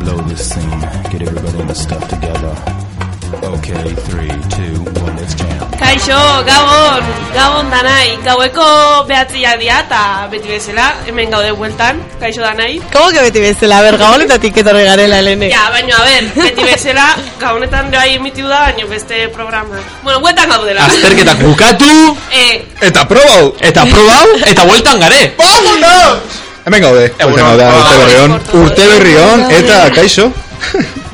blow this scene. Get everybody in the stuff together. Okay, three, two, one, let's jam. Kaixo, gabon, gabon danai, gaueko behatziak dira eta beti bezala, hemen gaude bueltan, kaixo danai. Como que beti bezala, ber, gaboletatik etorri garela, Elene. Ja, baina, a ber, beti bezala, gaunetan doa emitiu da, baina beste programa. Bueno, bueltan gaudela. Azterketak bukatu, Eh, Eta probau! eta probau, eta bueltan gare. Hemen gaude, Egunon. urte gaude, urte berri hon. Urte berri hon, eta kaixo.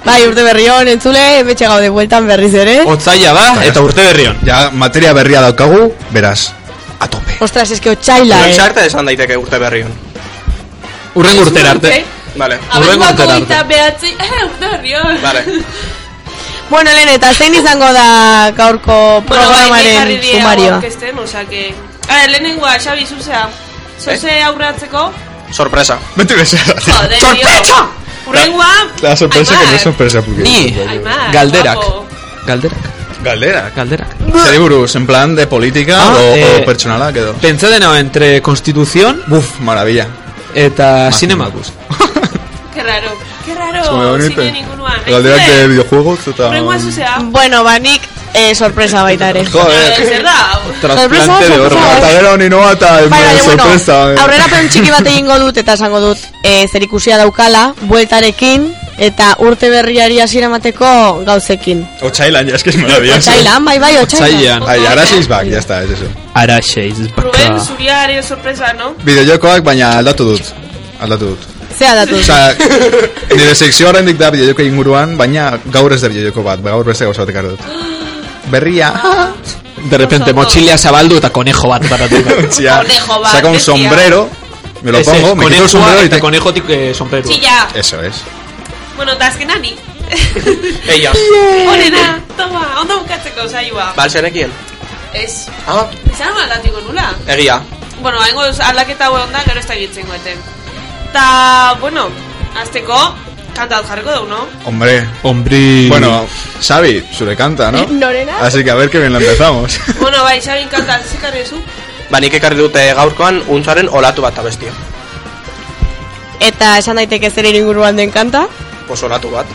Bai, urte berri hon, entzule, hemetxe gaude bueltan berriz ere. Otzaila da, eta urte berri hon. Ja, materia berria daukagu, beraz, a tope. Ostras, eske otxaila, Noiz eh. arte esan daiteke urte berri hon. Urren urtera arte. urte. Vale. Hurrengo abenduako urtera eta behatzi, eh, urte berri hon. Vale. Bueno, Elene, eta zein izango da gaurko Bueno, bai, ni jarri programaren dira sumarioa. aurkezten, osea, que... A ber, lehenengoa, Xabi, zuzea. Zuze aurratzeko, Sorpresa. Beti bezala. tío. joder, Eh? Sorpresa! Urrengoa, La sorpresa que no es sorpresa, porque... Ni, Aimar, galderak. guapo. Galderak, Galderak. galderak. Zeri buruz, en plan de política Ah, o, eh, o pertsonalak edo. Pentsa denao entre konstituzion Buf, maravilla. Oh, eta sinema. Qué raro, qué Zue raro, bonite. zinen inguruan. Galderak de Entzule, videojuegos eta... Urrengoa zuzea. Bueno, banik, eh, sorpresa baita ere. Eh, Bai, Joder. Zer da, hau? Sorpresa, Trasplante de sorpresa. órgano. Matadera honi noa eta Bai, eh, baina, bueno, sorpresa. eh. aurrera txiki bat egingo dut eta esango dut e, zerikusia daukala, bueltarekin eta urte berriari hasiera emateko gauzekin. Otsailan, ya, es que es maravilloso. Otsailan, bai, bai, otsailan. Otsailan. Ay, ahora sí es back, ya está, es eso. Araxe, izbaka. Rubén, zuria ere sorpresa, no? Bideojokoak, baina aldatu dut. Aldatu dut. Zea datu. Osa, nire sekzioa oraindik da bideojoko inguruan, baina gaur ez da bideojoko bat, gaur beste gauza bat ekarri dut. Berria. De repente, mochilea zabaldu eta konejo bat batatu. Txia, Conejo bat, saca un bestia. sombrero, me lo Ese, pongo, me konejoa quito el sombrero y eta te... konejotik eh, sombrero. Sí, ya. Eso es. Bueno, eta azkena ni. Eia. Horena, toma, ondo bukatzeko saioa. Balzenekien. Ez, Ah, izan hau aldatiko nula. egia. Bueno, haingo aldaketa hau onda, gero ez da egitzen goeten. Ta, bueno, azteko, kantat jarriko dugu, no? Hombre. Hombre. Bueno, Xavi, Sure canta, Eh, ¿no? Norena. Así que a ver qué bien la empezamos. Bueno, bai, Xabin kanta, zekarri duzu? Ba, nik ekarri dute gaurkoan untzaren olatu bat abestia. Eta esan daiteke zer inguruan den kanta. Pues olatu bat.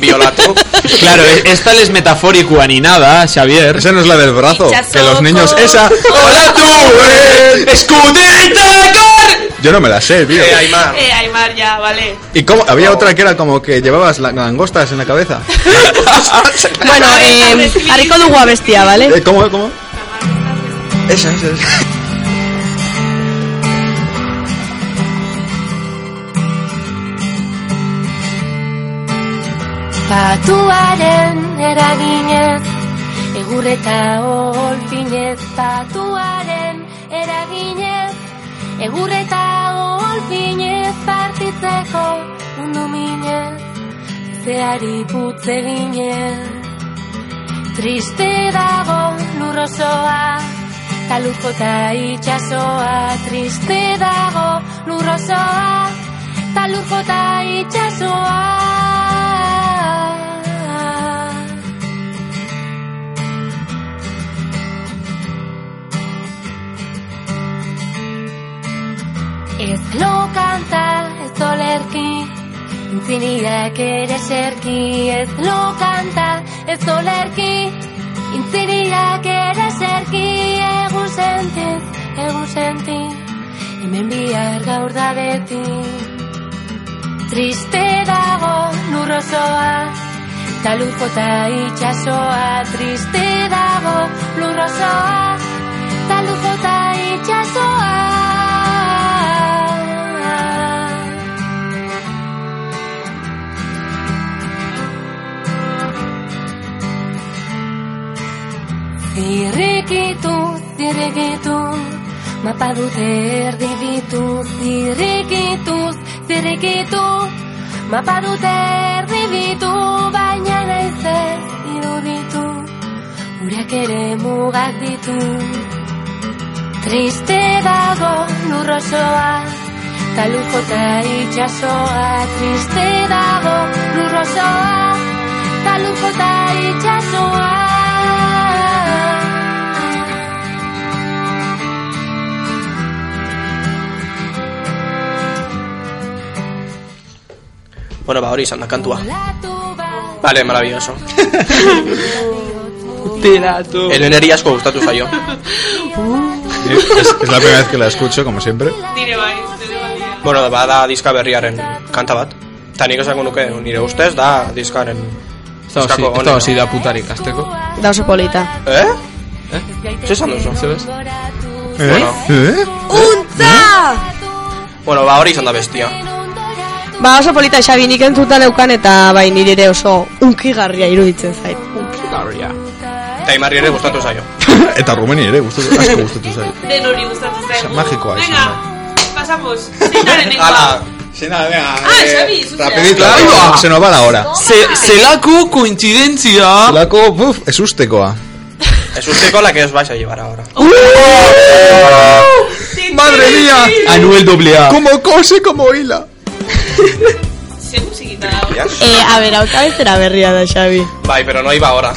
Bi olatu. Claro, e- ez tal es metaforikua ni nada, Xavier. Esa no es la del brazo, Hinchazo que los niños... con- Esa... ¡Hola tú! eh! ¡Escudetakar! Yo no me la sé, tío. Eh, Aimar. Eh, Aimar, ya, vale. ¿Y cómo? Había otra que era como que llevabas la- langostas en la cabeza. Bueno, eh, harriko dugu abestia, bale? Eh, ¿Cómo? ¿Cómo? Esa, esa, esa. Batuaren eraginez, egur eta olfinez, batuaren eraginez, egur eta olfinez, partitzeko mundu minez, zeari putz eginez. Triste dago lurrosoa, taluko eta itxasoa, triste dago lurrosoa, taluko eta itxasoa. Ez lo kanta ez olerki Intziniak ere serki Ez lo kanta ez olerki Intziniak ere serki Egun sentiz, egun sentiz Hemen bihar gaur da beti Triste dago lurrosoa Taluko eta itxasoa Triste dago lurrosoa Taluko eta itxasoa Zirrikitu, zirrikitu Mapa dute erdibitu Zirrikituz, zirrikitu Mapa dute erdibitu Baina naiz ez iruditu Urak ere mugak ditu Triste dago lurrosoa, taluko eta itxasoa. Triste dago lurrosoa, taluko eta itxasoa. Bueno, ba, hori izan da kantua. Olatu bat Vale, maravilloso. dihotu Tiratu. Eleneri asko gustatu zaio. Es, es la primera vez que la escucho, como siempre. Nire bai, nire bai. Bueno, bada diska berriaren kanta bat. Eta nik esango nuke, nire ustez, da diskaren... Ez da osi- diskako ez da onena. osi da puntarik azteko. Da oso polita. Eh? Zer esan duzu? Zebez? Bueno, ¿Eh? Untza! bueno, ba, hori izan da bestia. Ba oso polita Xabi nik entzuta neukan eta bai nire ere oso unkigarria iruditzen zait. Eta Imarri ere gustatu zaio. Eta Rumeni ere, gustatu, asko gustatu zait. Den hori gustatzen zaigu. Sa- magikoa izan Venga, pasamos. Zeitaren Hala, nengoa. Sena, venga. Ah, Xabi, zuzenean. Rapidito, Claro. se nos va la hora. Ze, zelako kointzidentzia! Lako, buf, ez ustekoa. ez usteko la que os vais a llevar ahora. ¡Madre mía! Anuel doblea. Como cose, como hila. Ze musikita da hori. E, a ber, hau kabezera berria da Xabi. Bai, pero no iba ahora.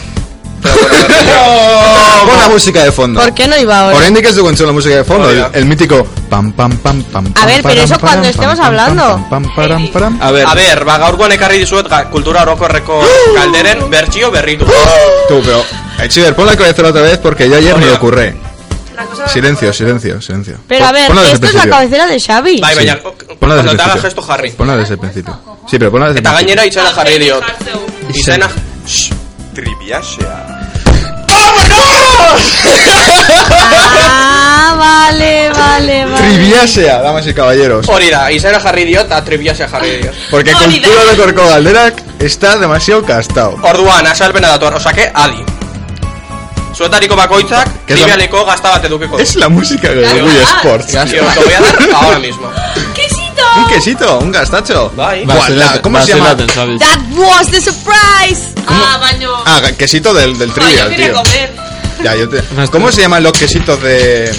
Buena música de fondo. ¿Por qué no iba ahora? Oraindik ez dugu entzun la música de fondo, Hori da. el, el mítico pam pam pam pam. A ver, pam, pero param, eso cuando param, estemos pam, pam, hablando. pam, pam, param, param. A ver, A ber, ba, gaurkoan ekarri dizuet ga, kultura orokorreko galderen bertxio berritu. Tú, pero eh, Chiver, pon la cabeza otra vez porque yo ayer Hori me da. ocurre. La cosa- Silencio, silencio, silencio. Pero a ver, Ponla desde el esto es la principio. cabecera de Xavi. Bai, baina, Sí. Ponla desde el cuando te haga principio. gesto jarri. Ponla desde el principio. Sí, pero ponla desde Eta el principio. gainera itxena jarri diot. Jartzeu. Izena... Triviasea. bai. Ah, vale, vale, vale. Triviasea, damas y caballeros. Hori da, izena jarri diot, eta triviasea jarri diot. Porque Hori da. Cultura de Corco Galderac está demasiado castado. Orduan, azalpena dator, osake, adi. Zuetariko bakoitzak, Que es la- trivialeko gazta bat edukiko. Es la música de Orgullo Ah, Sports. Y os lo voy a dar ahora mismo. Un quesito, un gastacho. Bye. Buah, la- ¿Cómo se llama? That was the surprise. Ah, baino... Ah, quesito del, del Baino, trivial, quiere tío. comer. Ya, yo te- Más ¿Cómo tarde. se llaman los quesitos de.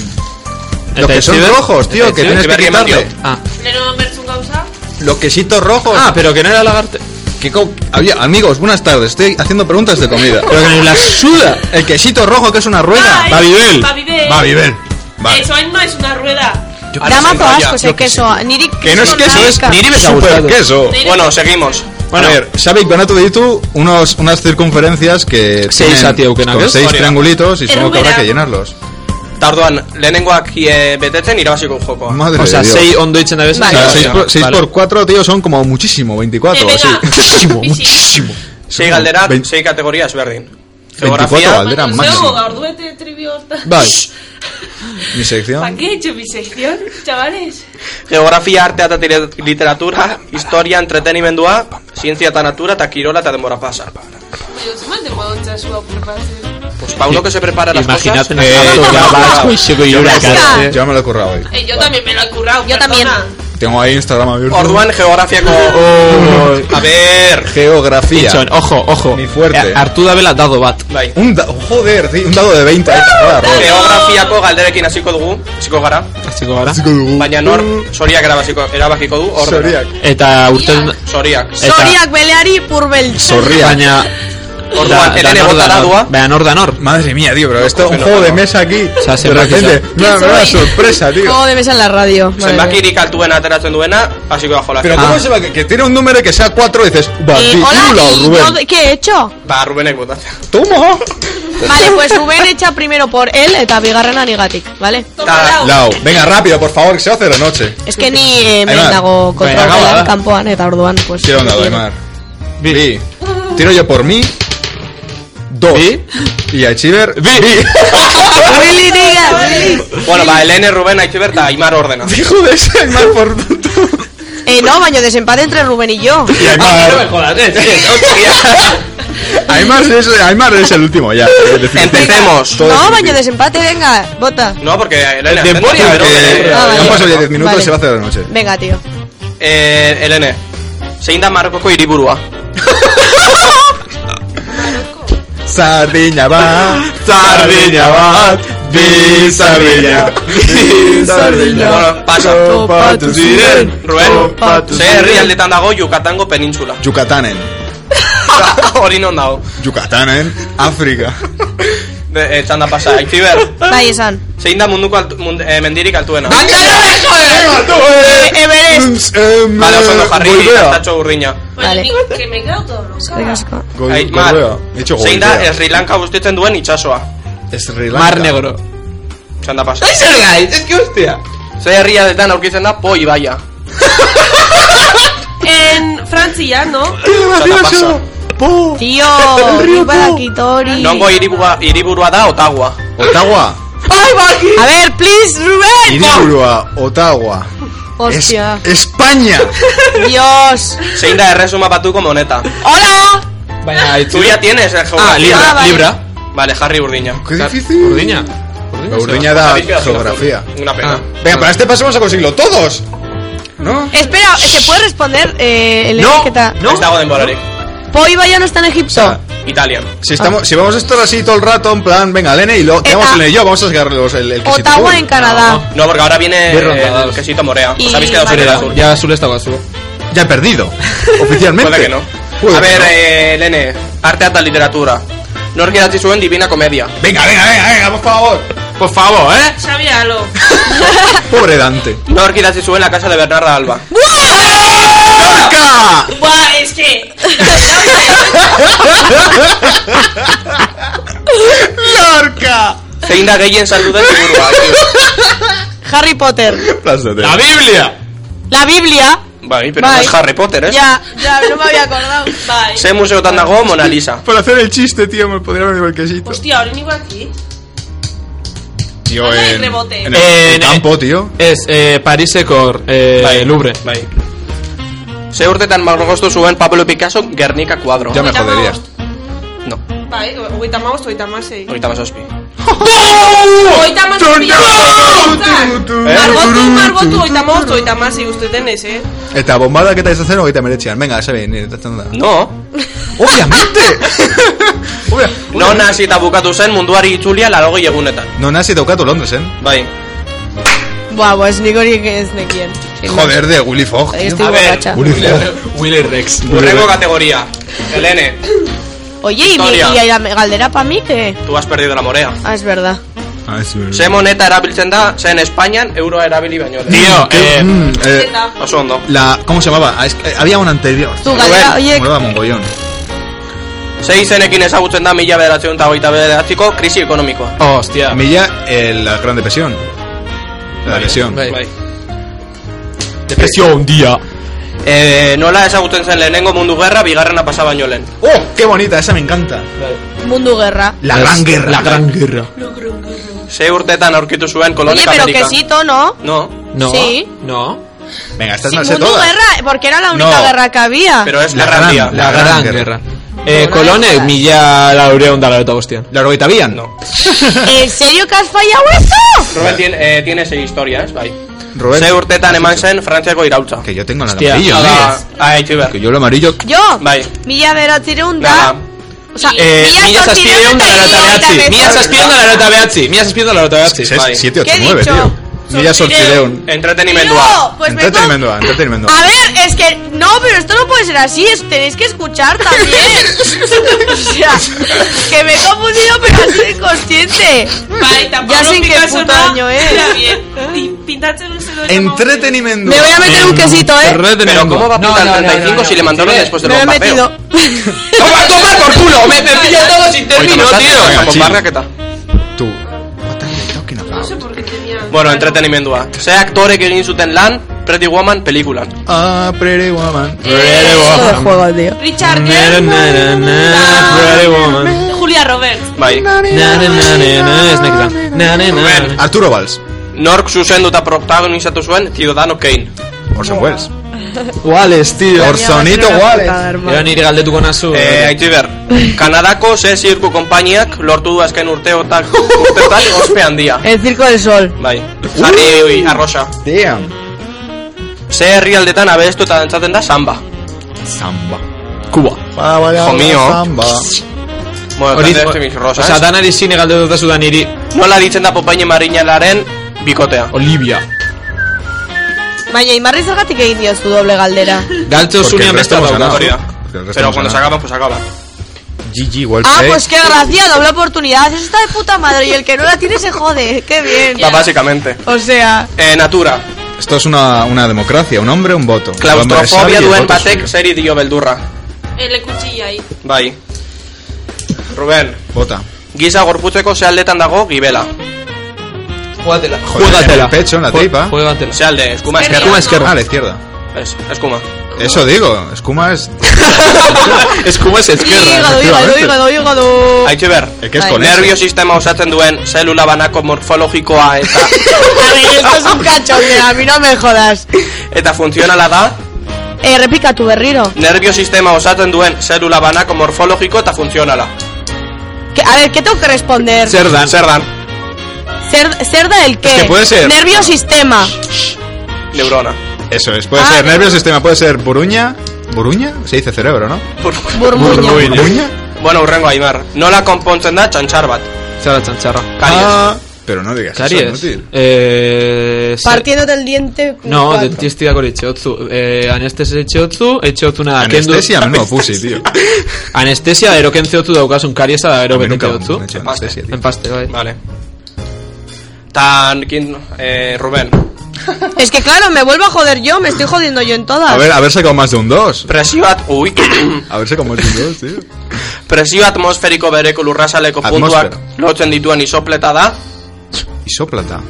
Los que son Steven? rojos, tío, ¿Este que Steven? tienes que Berry quitarle. Mandio. Ah. Lehen eman bertzun gauza. Los quesitos rojos. ah, pero que no era lagarte. Que co- Había, amigos, buenas tardes. Estoy haciendo preguntas de comida. Pero que ni la suda. El quesito rojo que es una rueda. Ay, Babibel. Babibel. Babibel. Vale. Eso no es una rueda. Ahora Damato se enrolla. asko ze queso. Niri Que no es queso, es niri super queso. Bueno, seguimos. a ver, Xabik Banato ditu unos, unas circunferencias que Seis tienen ati aukenak, con ez? seis Hori da. triangulitos y supongo que habrá Errumera. que llenarlos. Eta orduan, lehenengoak hie betetzen irabaziko jokoa. Madre O sea, de Dios. 6 ondo itxen abez. Vale. O sea, seis Vale. por- seis por cuatro, tío, son como muchísimo, 24 o así. Muchísimo, muchísimo. Sei galderak, Vein- sei kategoria ezberdin. 24 Geografia, galdera Zeu, máximo. gaur duete trivio horta. Bai. ¿Para Mi sección. qué he hecho mi sección, chavales? geografia, artea eta tire- literatura, historia, entretenimendua, zientzia eta natura, eta kirola eta denbora pasa. Baina, zeman denbora ontsa zua preparatzen. Pues pa uno que se prepara las Imaginatzen cosas... eh, auto ya vasco y chico y una cara, eh. Yo me lo he currado hoy. Eh, yo también me lo he currado, Yo también. Tengo ahí Instagram abierto. Orduan geografiako... A ver... Geografía. Itxon, ojo, ojo. Ni fuerte. Eh, Hartu da bela dado bat. Bai. Un da- joder, tío, un dado de 20. ahí, joder, arroz. Geografiako galderekin hasiko dugu, hasiko gara, Aziko gara. baina nor soriak erabaziko, erabakiko du, ordena. Zoriak. Eta urten... Soriak. Eta- Zoriak beleari purbel. Zorriak. Baina... Orduan, Elene nor, bota nor. dadua. Baina nor da nor. Madre mía, tío, pero esto es un no, juego no. de mesa aquí. sea, se de me ha repente, quitado. una, ¿Quién una soy? sorpresa, tío. Juego de mesa en la radio. Madre mía. Zenbakirik altuena ateratzen duena, hasiko da jolasen. Bai. Pero ¿cómo Ah. se va? Que, que tiene un número que sea 4 y dices, Eh, batícula, hola, ¿y Rubén. yo ¿qué he hecho? Ba, Rubenek botatzea. Toma. Vale, pues Rubén echa primero por él eh, eta bigarrena nigatik, ¿vale? Ta- Lao, venga rápido, por favor, que se hace la noche. Es que ni eh, Aimar. hemen dago Venga, acaba, kontrolan da. kanpoan eta orduan, pues... Tira un dado, Aymar. Vi. Tiro yo por mí. Dos. Y a Chiver. Vi. Willy diga, Willy. Bueno, ba, Elene, Ruben, Aitziber eta Aimar ordena. Hijo de ese Aymar por Eh, no, baño, desempate entre Rubén y yo. Y Aymar. jodas, eh, eh, hostia. Aymar es, Aymar es el último ya. eh, definitivo. Empecemos. Todo No, definitivo. baño, desempate, venga, bota. No, porque Elene... Porque Denbora, ya bero, bero, Ah, vale. han pasado ya 10 minutos Vale. y se va a hacer la noche. Venga, tío. Eh, Elene, zein da Marokoko hiriburua? Sardiña va, Sardiña va, di Sardiña, di Bueno, pasa. Topatu ziren, Ruben, topatu ze ziren. herrialdetan dago Yucatango penintzula. Yucatanen, Hori non dago. Yucatanen, África. De- eh, Txanda pasa, Aitziber, Bai, esan. Bai. zein da munduko altu, mund, eh, mendirik altuena? Everest! prest! Em, Vale, oso ondo eh, jarri, goibea. Tatxo urriña. Baina Vale. nik que me quedo todo Eskerrik asko. Goi- Ai, Mar, goibea. Itxo zein da goibea. Sri Lanka bustitzen duen itxasoa? Sri Lanka. Mar Negro. Txanda pasa. Ez zer gai, ez ki hostia. Ze herriadetan aurkitzen da po ibaia. En Frantzia, no? Txanda pasa. Po! Tio, Río nik Po. badakit hori. Nongo hiribua, hiriburua da Otagua. Ottawa. Ai, baki! A ver, please, Rubén. Hiriburua, Ottawa. Es- Hostia. España. Dios. Zein da erresuma batuko moneta. Hola. Baina, Tú ya tienes el Ah, geografía. Libra, Ah, vale. Libra. Vale, Harry Urdiña. Qué Ca- difícil. Urdiña. La Urdiña da Habéis quedado sin Ah, geografía. azul. Una pena. Ah. Venga, para este paso vamos a conseguirlo todos. ¿No? Espera, ¿se puede responder eh, el No, etiketa? no. Ez dago denborarik. Po Ibaia no está en Egipto. Italia. Si, estamos, si vamos a estar así todo el rato, en plan, venga, Lene y lo quedamos en el yo, vamos a sacar los, el, el quesito Ottawa azul. en Canadá. No, porque ahora viene Bien rondados. el quesito morea. Os Y habéis quedado sin el Vale. azul. Ya azul estaba azul. Ya he perdido, oficialmente. Puede que no. Puede a que ver, no. eh, Lene, artea eta literatura. Nork idatzi zuen Divina Comedia. Venga, venga, venga, venga, por favor. Por favor, eh? Xabi Alo. Pobre Dante. Nork idatzi zuen La Casa de Bernarda Alba. ¡Ca! Ba, es que... ¡Lorca! Zein da gehien saldu den liburua. tio. Harry Potter. Plástate. La Biblia. La Biblia. Bai, pero no Bai. es Harry Potter, eh? Ya, ya, no me había acordado. Bai. Ze museotan dago Mona Lisa. Para hacer el chiste, tío, me podría haber ido el quesito. Hostia, hori nik baki. Tío, Ay, en, rebote. en el, Eh, el eh. campo, tío. Es eh, Pariseko eh, Bai. Louvre. Bai. Ze urtetan margostu zuen Pablo Picasso Gernika kuadro. Ya me jodería. No, Bai, hogeita magoz, hogeita masei. horita mazazpi. Hogeita masei. Eh? Margotu, margotu, hogeita magoz, hogeita masei uste denez, eh? Eta bombada que te haces hacer, ahorita me echan. Venga, se ve, ni te hacen nada. No, ¡Obviamente! Obvia. no nazi eta bukatu zen munduari itzulia larogei egunetan. No nazi daukatu Londres, eh? Bai. Buah, pues ni hori ez nekien. Joder, de Willy Fogg. Ahí tío. estoy A ver. borracha. Willy Fogg. Willy Rex. Urrengo kategoria. Elene, Oye, ¿y, mi, Historia. y la galdera para mí que tú has perdido la morea. Ah, es verdad. Ah, es verdad. Ze moneta erabiltzen da, zen Espainian euroa erabili baino lehen. Tío, eh, Mm, eh, Eta, Oso ondo. la, ¿Cómo se llamaba? Ah, es que había una anterior. Tu galdera, Rubén, oye, Morada Mongollón. Ze izenekin ezagutzen da mila bederatzen eta hogeita bederatziko krisi ekonomikoa. hostia. Milla, eh, la Gran Depresión. La depresión. Bai. Bai. Depresio hundia. Eh, nola ezagutzen zen lehenengo mundu gerra, bigarrena pasa baino lehen. ¡Oh, qué bonita! Esa me encanta. Bai. Mundu Guerra. La Gran Guerra. La gran guerra. Ze urtetan aurkitu zuen Oye, kolonik pero Amerika. que sí, ¿no? No, No. Sí. No. Venga, esta es Sí, no Mundu todas. Guerra, porque era la única No. guerra que había. pero es La la gran gran- día. La, gran, guerra. Eh, Nola Kolonek guerra. mila laureun da laureto bostean. ¿La Roguita Vían? No. ¿En serio que has fallado eso? Rubén tiene, eh, tiene ze historia, ez, bai. Rubén. Ze urtetan eman zen Frantziako irautza. Que yo tengo la Hostia, amarillo. a ¿no? ver. Ah, ah, itxi behar. Que yo lo amarillo. Yo. Bai. Mila bederatzireun Nada. da. O sea, Eh, mila zazpideun da eta laureto behatzi. hirurogeita Mila hemezortzi. zazpideun da laureto behatzi. Mila zazpideun da laureto behatzi. Es Bai. 7, 8, ¿Qué he 9, dicho? tío. Milla Sortireon. Sortireon. Entretenimendua. Tío, pues me co- entretenimendua, entretenimendua. A ver, es que no, pero esto no puede ser así, es- tenéis que escuchar también. o sea, que me he confundido, pero ha sido inconsciente. bai, eta Ya Pablo sé en qué Picasso puto da- año, eh. Era bien. Di- Pintatzen uste dut. Entretenimendua. Me voy a meter un quesito, eh. Pero ¿cómo va a apuntar 35 si le mandaron Pues después de Me lo los he papeos? metido. ¡Toma, toma, por culo! ¡Me cepillo todo sin término, Oye, tío! venga, Con chill. barraketa. Tú. What the heck, talking about? Bueno, entretenimendua. Ze aktorek egin zuten lan, Pretty Woman pelikulan. Ah, pretty woman. Oh. Esto de juego, tío. Eh, Richard Na, na, na, na, pretty woman. Julia Roberts. Bai. Na, na, na, na, na, ez nekita. Na, na, na, na. Arturo Valls. Nork zuzendu eta protagonizatu zuen Ciudadano Kane. Orson Welles. Wales, tío. Orsonito Welles. Gero nire galdetuko nazu. Bai. Eh, Aitziber, Kanadako ze zirku konpainiak lortu du azken urteotan urteotan ospe handia. El Circo del Sol. Bai. Jarri arrosa. Damn. Ze herrialdetan abestu eta dantzaten da samba. Samba. Kuba. Ah, vaya, Hijo mío. Samba. Bueno, Hori, eta ez rosa, osea, eh? ez? danari zine galdetu dazu da niri Nola ditzen da Popaine Marinalaren bikotea. Olivia. Baina, Imarri zergatik egin diozu doble galdera. Galtze Porque el zunean resto beste hemos daukat. ganado. Hori da. Porque el resto Pero hemos cuando se ganado. acaban, pues acaban. GG, igual. Ah, pues qué gracia, doble oportunidad. Eso está de puta madre. Y el que no la tiene se jode. Qué bien. Ba, básicamente. O sea, Eh, natura. Esto es una, una democracia, un hombre, un voto. Klaustrofobia Hombre, sabe, duen voto batek suyo. zer dio beldurra. Ele kutsia eh, ahí. Bai. Ruben, Vota. giza gorputzeko ze aldetan dago gibela. Júgatela. Joder, en el pecho, en la tripa. Júgatela. Ze alde, eskuma Eskerrik eskerra. asko. Ah, a la izquierda. Ez, eskuma. Eso digo, escuma es. Es como es ¿eh? Hígado, hígado, efectivamente. hígado, hígado. Haitxe ber, El que es Ay, con eso. nervio sistema osatzen duen zelula banako morfologikoa eta A ver, esto es un cachondeo, a mí no me jodas. eta funtzionala da Eh, repica tu berriro. nervio sistema osatzen duen zelula banako morfologiko eta funtzionala. Que- a ver, ¿qué tengo que responder? Zer dan? Zer dan? Cer- ¿Cerda el qué? que puede ser. Nervio sistema. Neurona. Eso es, puede Ah, ser no. nervio sistema, puede ser buruña. ¿Buruña? Se dice cerebro, ¿no? Burmuño. ¿Burbuña? Bueno, urrengo Aimar. Nola konpontzen da txantxar bat? Txarra, txantxarra. Karies. Ah, pero no digas eso, Karies. inútil. Eh, ze- Partiéndote el diente. No, ¿cuánto? dentistiako etxe hotzu. Eh, anestesia etxe hotzu, etxe hotzuna kendu- Anestesia, menudo pussy, tío. Anestesia, ero kentze hotzu daukasun kariesa da, ero A mí betete nunca me hotzu. han hecho anestesia, tío. Enpaste, bai. Vale. Tan, kin, eh, Rubén. Es que claro, me vuelvo a joder yo, me estoy jodiendo yo en todas. A ver, haber sacado más de un 2. Presioat, ui, Haber sacado más de un 2, tío. presio atmosferiko bereko lurrasaleko puntuak Atmosfera. lotzen dituen isopleta da. Isóplata.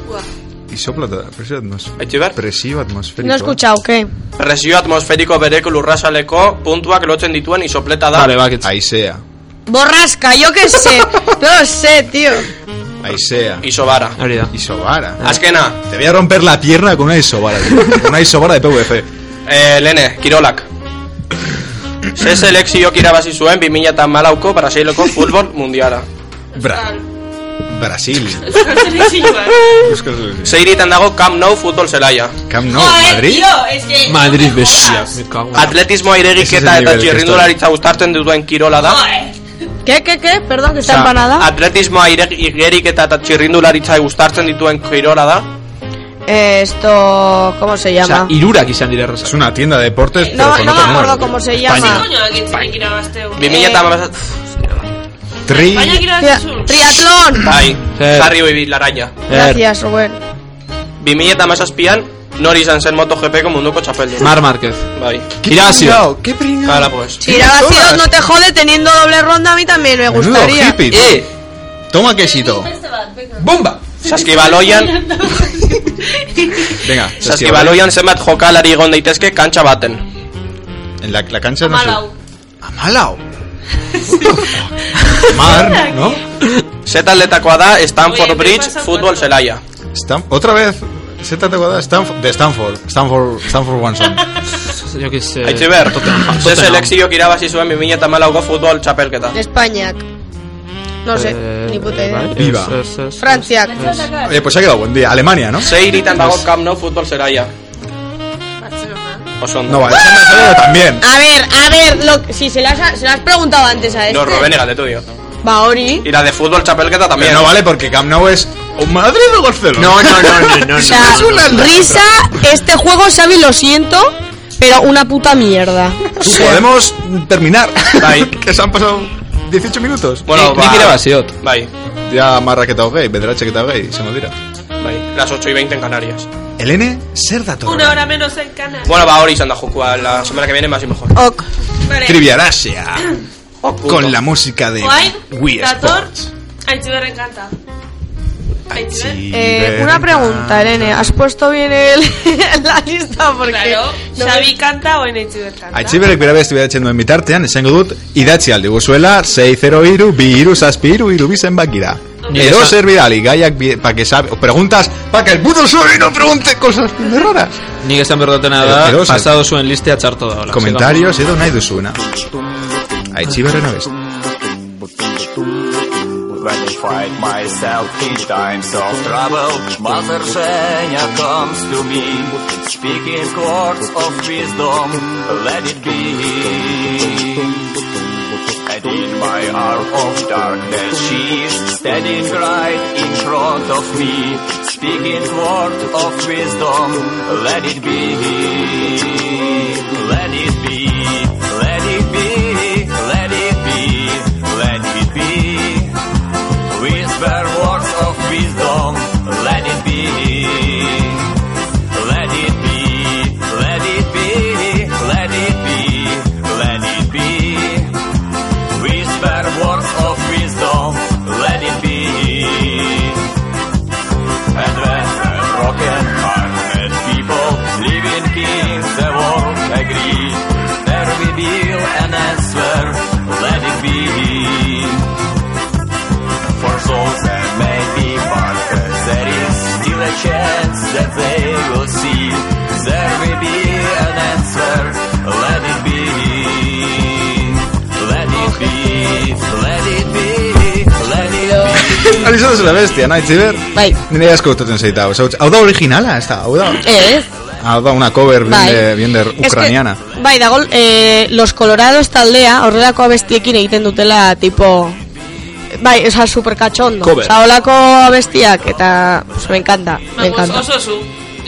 Isóplata, presión Aichiber. atmosférica. Presivo atmosférico. No he escuchado, ¿qué? Presio atmosferiko bereko lurrasaleko puntuak lotzen dituen isopleta da. Vale, bakitz. Aisea. Borrasca, yo qué sé. No lo sé, tío. Aisea. Isobara. Hori da. Isobara. Azkena, Te voy a romper la pierna con una isobara, tío. Con Una isobara de PVC. eh, lene, kirolak. Ze selekziok irabazi zuen 2008ko Brasileko futbol mundiala. Bra Brasil. Euskal Herria. Zeiritan dago Camp Nou futbol zelaia. Camp Nou, eh, Joder, Madrid. tío, es que... Madrid, no me bestia. jodas. Me cago en- Atletismoa Ese es el iregiketa eta nivel que txirrindularitza uztartzen dituen kirola da. Joder. ¿Qué, qué, qué? Perdón, que está Osea, empanada. Atletismoa ire- igeriketa eta txirrindularitza guztartzen dituen kirola da. Eh, esto. ¿Cómo se Osea, llama? irurak izan dira errezak. Es una tienda de deportes. pero Eh, No, no con me otro acuerdo nombre. cómo se Ze llama. coño dakitzen irabazteu? Bi mila eta hamazaz- Tri. Baina Tri- irabaztezun. Triatlón. Bai, Eh. Zer. jarri hoi laraina. Gracias, Rubén. 2000 eta mazazpian, nori izan zen MotoGP-ko munduko txapeldun. Mar Márquez. Bai, Kirasio. Qué pringao. hala pues. Si grabación no te jode teniendo doble ronda, a mí también me Menudo gustaría. hippie, tú. Eh, Toma quesito. Bomba! saskibaloian, Venga, saskibaloian zenbat jokalari egon daitezke kantxa baten. En la, la cancha no sé. Malau. Amalao. Mar, ¿no? Z aldetakoa da Stanford Oye, te Bridge pasa futbol cuatro. zelaia. Stan- Otra vez. Z te acuerdas? Stanford, de Stanford. Stanford, Stanford Wanson. Yo que Eh, sé... Haitxe ber, Tottenham. ze Tottenham. selekziok irabazi zuen 2008ko futbol txapelketa. Eh. De España. No sé, Eh, ni puta idea. bai, Viva. ez, ez, ez. Francia. Oye, pues ha quedado buen día. Alemania, ¿no? Ze hiritan dago Camp Nou futbol zelaia. Oso ondo. No, vale. San Marcelo también. A ver, a ver, lo, si se las, ha- se las has preguntado antes a este. No, Rubén eh. galdetu dio. Va, Ori. Y la de fútbol chapelqueta también. Pero no vale porque Camp Nou es o Madrid o Barcelona. No, no, no, no, no, no. O sea, risa, este juego, Xavi, lo siento, pero una puta mierda. Tú, Podemos terminar. Bai. que se han pasado 18 minutos. Bueno, Nik- nik irabaziot. Bai, Ya más raquetao gay, Bedrache que gay, se me dirá. bai. Las 8 y 20 en Canarias. El N, ser dato. Una hora menos en Canarias. Bueno, va, ahora Isanda Jokua. La semana que viene más y mejor. Ok. Vale. Triviarasia. Oh, puto. Con la música de Oain, Wii dator, Sports. aitziberren kanta. Aitziber, Eh, una pregunta, Irene. ¿Has puesto bien el, la lista? Porque claro, no me- Xabi kanta oen aitziber kanta. Atxiberek bera beste bidatzen duen bitartean, esango dut, idatzi aldi guzuela, 6-0 iru, bi iru, zazpi iru, iru bizen bakira. Ni Ero esan- zer bidali, gaiak bi, pa que sabe, o preguntas, pa que el puto sobe no pregunte cosas de raras. Nik esan behar dutena da, Eh, erosen. pasado zuen listea txarto da. hola. Comentarios edo nahi duzuna. Atxiberren abest. Ratified myself in times of trouble. Mother Shenya comes to me, speaking words of wisdom. Let it be. And in my hour of darkness, she is standing right in front of me, speaking words of wisdom. Let it be. Let it be. Let it be. Let it be. Let it be. Whisper words of wisdom, let it be. Let it Eso es la bestia, Night Fever. Bai. Nire asko duten zeita, hau hau da originala, ez da, hau da, Eh. Ez. hau da una cover bien Bai. de, bien de Eske, ucraniana. bai, dago, eh, Los Colorados taldea horrelako abestiekin egiten dutela tipo... Bai, oza, super cachondo. Cover. Oza, holako abestiak eta... Pues, me encanta, me Vamos, encanta. oso zu.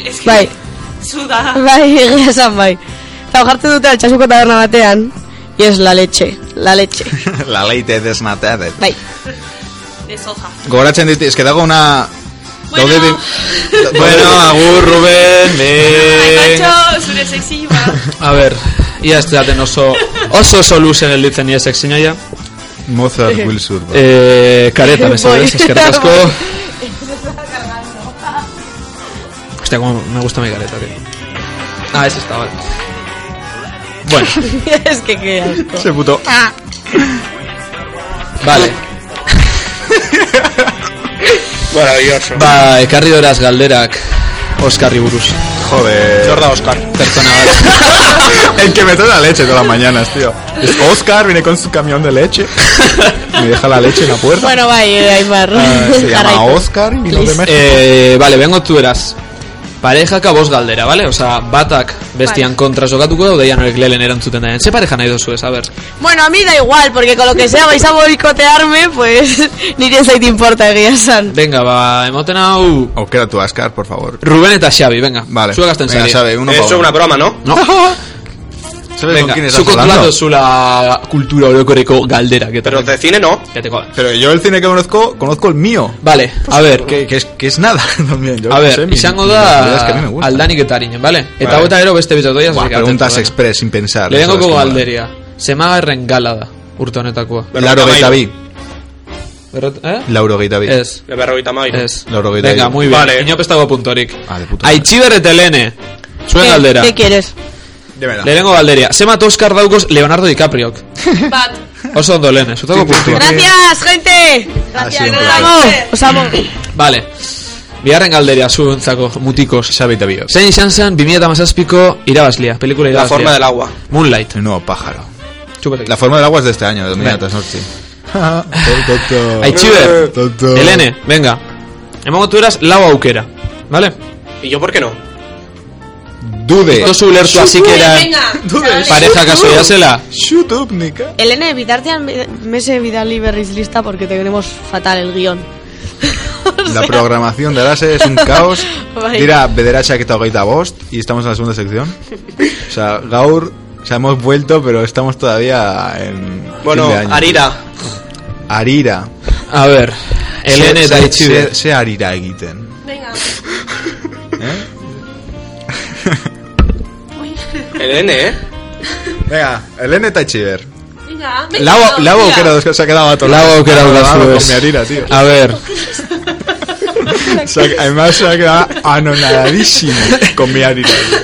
Es que Bai, zu da. bai, egia esan bai. Eta jartzen dute altxasuko taberna batean, y es la leche, la leche. La leite desnatada. Bai, De soja. Gogoratzen dit, eske dago una... Bueno. daude bi- bueno, agur, Ruben, Eh, ben... Aipatxo, zure sexismoa. A ber, ia ez daten oso oso oso luzen elditzen nire sekzinoia. Mozart Will Survive. Eh, kareta, mesedez, eskerrik asko. Hostia, como me gusta mi careta, tío. Ah, es esta, vale. Bueno, es que qué asco. Ese puto... vale. Maravilloso. Ba, ekarri doraz galderak Oskarri buruz. Joder. Jorda Oscar. Pertsona bat. El que me trae la leche todas las mañanas, tío. Es Oscar, viene con su camión de leche. Me deja la leche en la puerta. Bueno, bai, eh, Aimar. Ah, se llama Jarraitu. Oscar y vino de México. Eh, vale, bengo tu eraz. Parejaka bost galdera, vale? Osa, batak bestian kontra jokatuko daude janoek lehen erantzuten daien. Ze pareja nahi dozu, ez, a ber. Bueno, a mí da igual, porque con lo que sea vais a boicotearme, pues ni te te importa, egia esan. Venga, ba, emoten hau... Aukera Oh, tu Oscar, por favor. Ruben eta Xabi, venga. Vale. Zuek azten Venga, zari. sabe, uno Eso pa' es una broma, ¿no? No. ¿Sabes venga, con quién estás zuko hablando? tulatu zula kultura orokoreko galderak. Eta Pero de cine no. Jateko, vale. Pero yo el cine que conozco, conozco el mío. Vale, a ver, Que, que es, que es nada también. Yo a no ver, sé, mi- izango mi- la verdad es que a da mí me gusta. aldanik eta harinen, vale? Eta Vale. bota ero beste bizatoia. Buah, preguntas express sin pensar. Le eso es dengo como- galderia. Semagarren gala da, urte honetakoa. Lauro Berrogeita Gaitabi. Berrot, eh? Lauro Gaitabi. Ez, De Berroita Mairo. ez. Laurogeita Venga, hiru. muy bien. Vale. Inop ez dago puntorik. Ah, de puta madre. Aitxiber eta Elene. Zuen ¿Qué- galdera. ¿Qué quieres? Dímela. Lehenengo galderia. Zemat Oscar daukoz Leonardo DiCapriok. Bat. Oso ondo lehen, zutako puntua. Gracias, gente. Así, en Os plan, amo, os amo. Vale. Bigarren galderia, zuentzako, mutikos. Xabi eta biok. Zein izan zen 2008ko irabazlia, pelikula La irabazlia. forma del agua. Moonlight. El nuevo pájaro. Txupete. La forma del agua es de este año, de 2008, sortzi. Tonto. Aitxiber, Tonto. Elene, venga. Emango tu eras lau aukera. Vale? ¿Y yo por qué no? Dude. Ito zu lertu así que era... Venga. Pareja kaso jazela. Shut up, Nika. Elena, evitarte al me- mese Vidal berriz lista porque tenemos fatal el guión. La programación de Arase es un caos. Bai. Tira, bederatxak eta hogeita bost y estamos en la segunda sección. O sea, gaur, o sea, hemos vuelto, pero estamos todavía en... Bueno, fin de año. Arira. Arira. A ver, Elene eta Ze- Aitxiber. ze- Ze arira egiten. Venga. Eh? Elene, ¿eh? Venga, Elene eta Itxiber. Venga. venga, Lau, no, lau tira. aukera dauzka, se ha quedado atorado. Lau aukera dauzkazu, Con ez. mi arira, tío. A ver, Se ha- además se ha quedado anonadadísimo con mi arira. tío.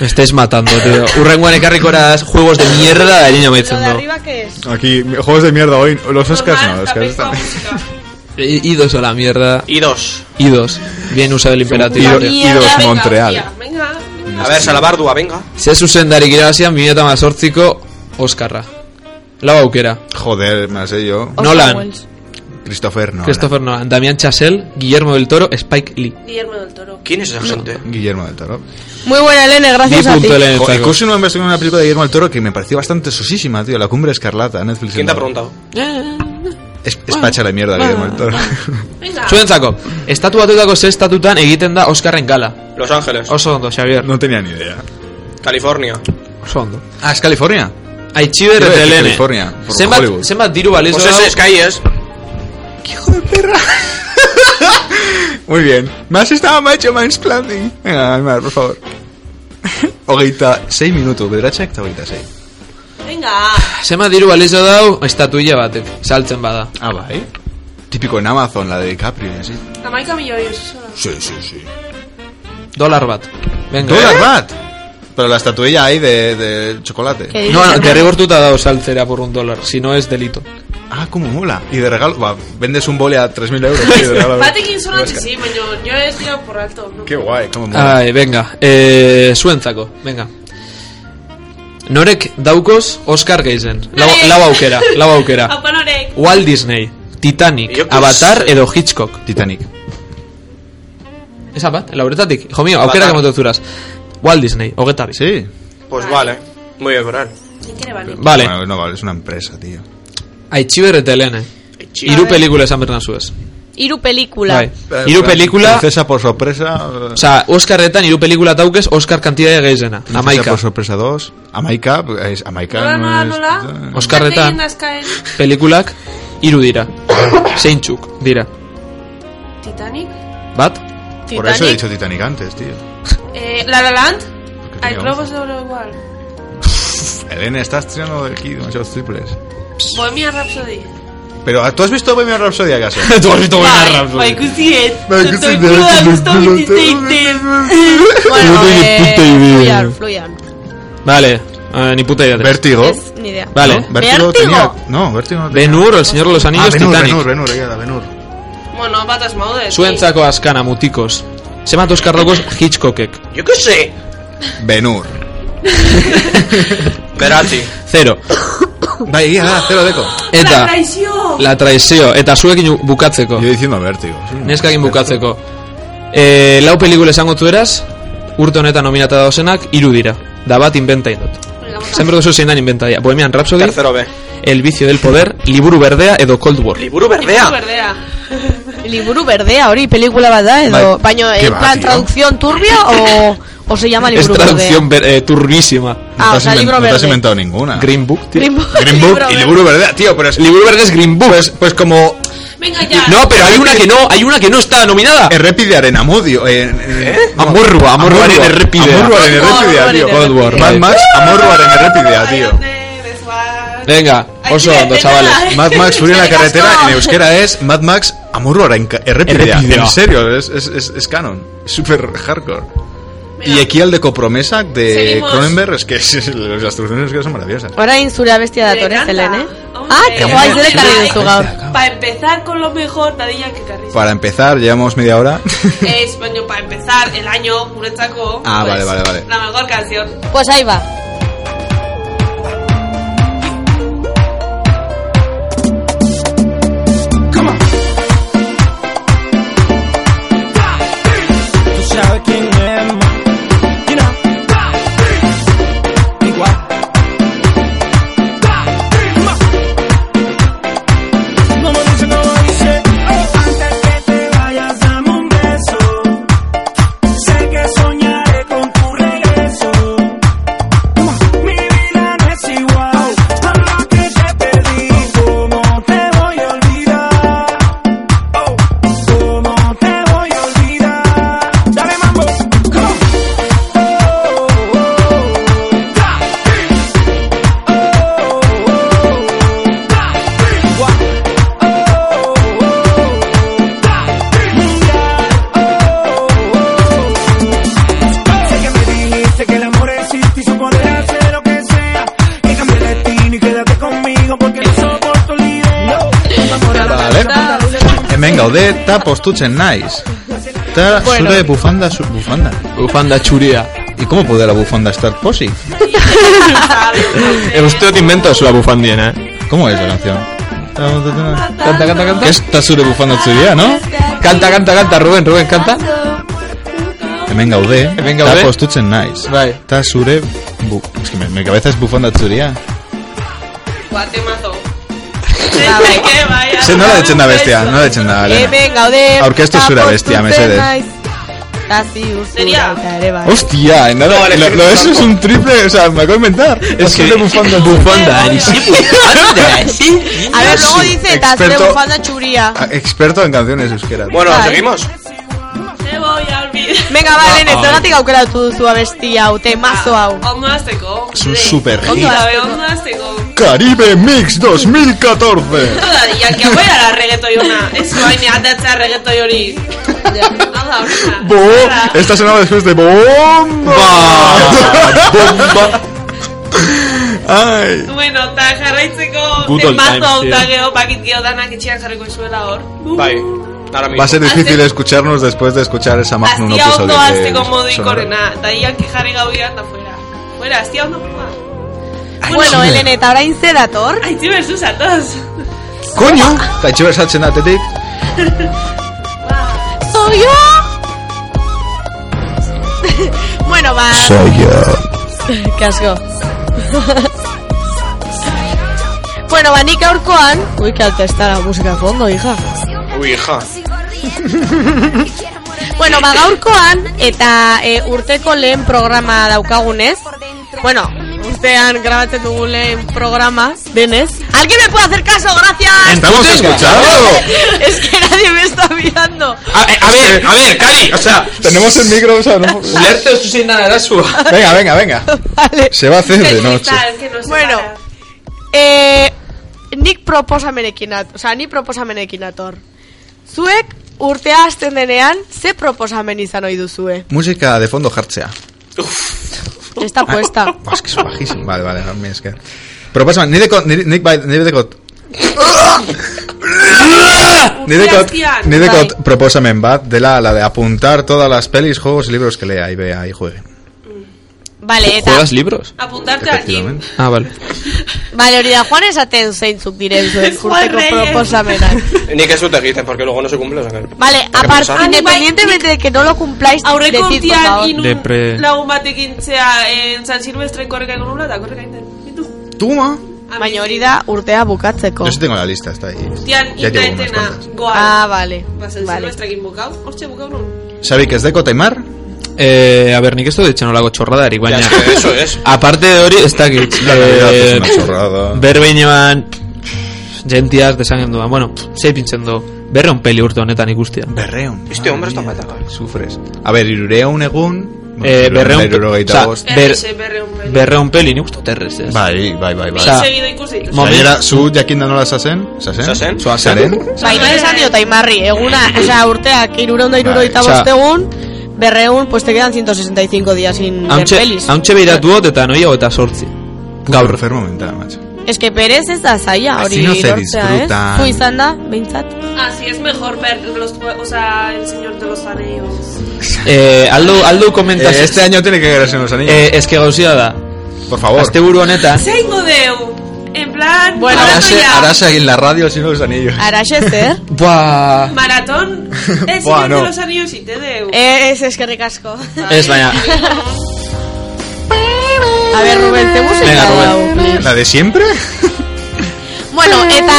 me estáis matando, tío. Urrengoan ekarriko eraz juegos de mierda da erina ¿Lo baitzen de do. arriba qué es? Aquí, juegos de mierda hoy. Los Oscars Normal, no, los tapéis Oscars la están... música. E, I- Idos a la mierda. Y dos. Idos. Bien usado el imperativo. Ido- tío. Idos Venga, venga, Montreal. tía, Venga. A ver, Salabardua, venga. Ze zuzendarik irabazian 2008ko Oscarra. Lau aukera. Joder, me la sé yo. Oscar Nolan. Welles. Christopher Nolan. Christopher Nolan, Damián Chazelle, Guillermo del Toro, Spike Lee. Guillermo del Toro. ¿Quién es esa gente? Guillermo del Toro. Muy buena, Elena, Bi gracias a ti. punto lehen Jo, zako. ikusi nuen beste una película de Guillermo del Toro que me pareció bastante sosísima, tío. La cumbre escarlata, Netflix. ¿Quién te ha preguntado? Es, es pacha la mierda, Guillermo del Toro. Venga. Zuentzako, estatu batutako ze estatutan egiten da Oscarren gala. Los Ángeles. Oso ondo, Xavier. no tenía ni idea. California. Oso ondo. Ah, es California. Aitxiber Yo eta de Elene. California, por Zenbat, Hollywood. zenbat diru baliz Pues ese Sky es. Muy bien. Más estaba macho mansplaining. Venga, Aymar, por favor. Hogeita 6 minutos, bederatxak eta hogeita 6. Venga. Zenbat diru balizo dau estatuilla batek, saltzen bada. Ah, bai. Típico en Amazon, la de DiCaprio y así. Hamaika milioi, oso. Sí, sí, sí. Dolar bat. Venga. eh. Dólar Rat. Pero la estatuilla ahí de, de chocolate. Que dice No, no, Fernando. derrigortuta dau saltzera por un dólar, si no es delito. Ah, como mola. Y de regalo, va, vendes un boli a 3.000 euros. tío, de regalo. Batekin sonatzen sí, baina jo ez dira por alto. no? Qué guay, como mola. Ai, Ah, venga. Eh, zuentzako, venga. Norek daukoz Oscar Geisen. Lau, Norek. lau aukera, lau aukera. Ah, Aupa norek. Walt Disney, Titanic, Yo que Avatar edo Hitchcock. Titanic. Esa bat, lauretatik. Jo mio, aukera Avatar. kamotu zuraz. Walt Disney, hogeta bi. Sí. Pues vale. Muy bien, coral. Vale, Bueno, no vale, es una empresa, tío. Aitxiber eta Elene. Hiru pelikula esan bertan zuez. Hiru pelikula. Bai. Hiru pelikula, Princesa por sorpresa. eh, Osa, Oscarretan hiru pelikula daukez Oscar kantidea geizena. Princesa Amaika. por sorpresa 2. Amaika. Es, Amaika Nola, nola, no es- nola? Oskarretan. Egin azkaen Pelikulak hiru dira. Zeintzuk dira. Titanic. Bat, Por eso he dicho Titanic antes, tío. Eh, La La Land. Porque Hay tenía globos de oro igual. Elena, estás tirando de aquí demasiados triples. Bohemian Rhapsody. Pero, ¿tú has visto Bohemian Rhapsody acaso? Tú has visto Bohemian Rhapsody. Bai, ikusiet. Bai, Tonto ikusi dut, ikuda, ikusi gustu dut. bititeiten. Bueno, tengo ni eh, puta idea. fluyan, fluyan. Vale, eh, ni puta idea. tenés. Vértigo. Es ni idea. Vale. ¿No? Vértigo ¿Vértigo? tenía. No, Vértigo no tenía. Ben Hur, El Señor de los Ah, Anillos, Ben Hur, Ben Titanic. Hur, Ben Hur, egia da, Ben Hur. Bueno, bataz maude. Zuentzako azkana, mutikos. Zemat Oscar daukez Hitchcockek. Yo qué sé. Ben Hur. Berati. Zero. Bai, egia da, zero deko. Eta, la traizio. Eta zuekin bukatzeko. Yo diciendo Vértigo. sí. Neskakin bukatzeko. Eh, lau pelikula esango tueraz, urte honetan nominata dauzenak, hiru dira. Da bat inventa indot. Zenber duzu zein dan inventa dira. Bohemian Rhapsody, Tercero B. El vicio del poder, Liburu berdea edo Cold War. Liburu berdea. Berdea. Liburu berdea hori pelikula bat da edo Bai. baino Ke en ba, eh, plan tío. traducción turbia o o se llama Es liburu berdea. traducción ber- eh, turbísima. No Ah, te o has sea, inven- libro No te has verde. inventado ninguna. Green Book, tío. Limbo. Green Book y Liburu Verde. Tío, pero es. Liburu Verde es Green Book. Pues, pues como. Venga ya. No, pero hay una que no, hay una que no está nominada. Errepi Eh, de Arenamudio. Eh, eh, Amorrua, amorruaren errepidea. Amorruaren errepidea, tío. Cold War, Mad bai. Max, amorruaren errepidea, Ay, tío. hombre, besoar. Venga, oso Ay, ondo, de nada. chavales. Mad Max Furia en la carretera en euskera es Mad Max Amorruaren ca- errepidea. Errepidea. En serio, es, es, es, es canon. Es Super hardcore. Y aquí al de Copromesa de Seguimos. Cronenberg es que es- las traducciones que son maravillosas. Orain zure abestia Zure datorrez, kanta. Elene. Hombre. Ah, que guai, zure Hombre. karri duzu gaur. Para empezar con lo mejor, dadilla que carrizo. Para empezar, llevamos media hora. Es, bueno, para empezar el año, guretzako. Ah, vale, vale, vale. La mejor canción. Pues ahí va. Antes que te vayas, dame un beso. Sé que soñaré con tu regreso. Mi vida no es igual a lo que te pedí. ¿Cómo te voy a olvidar? ¿Cómo te voy a olvidar? Dale mambo. Oh, Sé que me dijiste que el amor existe y suponer hacer lo que sea. Que cambie de destino y quédate conmigo porque no soporto el video. Vale. Eh, Hemen gaude eta postutzen naiz. Eta Bueno. zure bufanda, zu, bufanda. Ufanda txuria. ¿Y cómo puede la bufanda estar posi? Eusteot inventa la bufandien, eh. ¿Cómo es la canción? Canta, canta, canta. Que está zure bufanda zuria, ¿no? Canta, canta, canta, Rubén, Rubén, canta. Hemen gaude, Hemen eta gaude. postutzen naiz. Bai. Eta zure... Bu, es que me, me cabeza es bufanda zuria. Guatemazo. Desde que vaya. Se nola detzen da bestia, nola detzen da, Elena. Hemen gaude. Aurkeztu zure abestia, mesedez. Tazi urzura Seria? eta ere bai. Hostia, en nada, lo, lo de eso es un triple, o sea, me acabo de inventar. Es que bufanda Bufanda, ni si bufanda. A ver, luego dice tazi de Experto- bufanda txuria. Ah, Experto en canciones euskera. Bueno, Vale. seguimos. Te voy a olvidar. Venga, ba, Elene, zergatik aukeratu duzu abestia hau, temazo hau. Ondo hasteko. Es un super hit. Ondo dabe, ondo hasteko. Caribe Mix 2014. Ondo dadilla, que abuela la reggaetoi ona. Ez guaini atatzea reggaetoi hori. Hau da, horrena. Bo- Esta sonaba después de bomba. Bomba. Ay. Bueno, eta jarraitzeko Good old times, temazo hau da tío. geho, pakit geho danak etxean jarriko zuela hor. Bye. Ahora mismo. Va a ser difícil escucharnos después de escuchar esa magnum Aztia episodio. ondo que hasteko modu sonora. ikorrena. Daiak jarri gau dira eta fuera. Fuera, aztia ondo proba. Bueno, Elene, eta orain ze dator? Aitzi bersuz atoz. Coño! Eta etxe bersatzen da, tetik. Soy yo. bueno, va. Qué asco. bueno, ba, nik gaurkoan... Ui, que alta está la música a fondo, hija. Uy, hija. Bueno, ba, gaurkoan, eta e, urteko lehen programa daukagunez. Bueno, urtean grabatzen dugu lehen programa, denez. ¿Alguien me puede hacer caso? ¡Gracias! ¡Estamos escuchando! es que nadie me está mirando. A, a ver, a ver, Cali, o sea, Tenemos el micro, o sea, no... ulertze zuzena erazua. Venga, venga, venga. Vale. Se va a hacer de noche. Ah, Bueno, eh, nik proposamenekin at, o sea, ni proposamenekin ator. Zuek urtea hasten denean, ze proposamen izan ohi duzue? Música de fondo jartzea. Esta puesta. Buah, es que es bajísimo. Vale, vale, no me es que... Pero pasa, nire kot, nire, nik bai, nire dekot... Nire kot, nire dekot proposamen bat, dela la de apuntar todas las pelis, juegos y libros que lea y vea y juegue. Vale, eta... ¿Juegas libros? Apuntarte al gym. Ah, vale. Vale, hori da, Juan esaten zeintzuk diren zuen Juan urteko Reyes. proposamenak. Ni que eso te quiten, porque luego no se cumple. o sea que- Vale, que aparte, pensar. independientemente de que no lo cumpláis, decid, Aurreko por urtean favor. inun Depre- lagun batek intzea eh, San Silvestren korreka egon nula, eta korreka egiten. Bitu. ¿Tuma? Baina hori da urtea bukatzeko. Yo sí tengo la lista, está ahí. Tian, Ya inta llevo unas etena, cuantas. goa. Ah, vale. Ba, San vale. Silvestrekin bukau. Hortxe bukau nun. Xavi, que es dekot, Aymar? Eh, a ver, nik ez dut etxen olako txorradarik, Ya, baina... es que eso es. Aparte de hori, ez dakit. La Navidad Eh, es una chorrada. Berbeinean... Gentiaz desagen duan, bueno, zei pintzen du. Berreon peli urte honetan ikustia. Berreun. Este hombre está Madre mía, fatal. Sufres. A ver, irureun egun... Eh, berreun... Irurogeita osea, bost. ber, Errexe, berreun beti. berreun peli, nik uste terrez ez. Bai, bai, bai, bai. Sa- Bi segido ikusi. dituzte. Moment- Gainera, zu jakinda nola zazen? Zazen? Zazen. Zaren? Baina esan dio Taimarri, eguna, osea, urteak irureunda irurogeita Bai, osea- bostegun, berreun, pues te quedan 165 días sin ver Hauntxe, pelis. hauntxe beiratu dut eta noiago eta sortzi. Gaur. Gaur. Enfermo mental, macho. Es que Pérez ez da zaila, hori Así no se lortzea, eh? disfrutan. Zu izan da, behintzat. Así Ah, es mejor ver los, o sea, el señor de los anillos. Eh, aldo, aldo komentaz... Eh, este año tiene que quedarse en los anillos. Eh, eske gauzia da. Por favor. Azte buru honetan... Tengo deu. En plan, Bueno, maratón Arase, ya. Arase en la radio sin los anillos. Araxe zer? Buah... Maratón. El Buah, señor no. Eh. de los anillos y te deu. Ez, eskerrik asko. Ez, baina... A ver, Rubén, te Venga, musika Rubén. dau. ¿La de siempre? Bueno, eta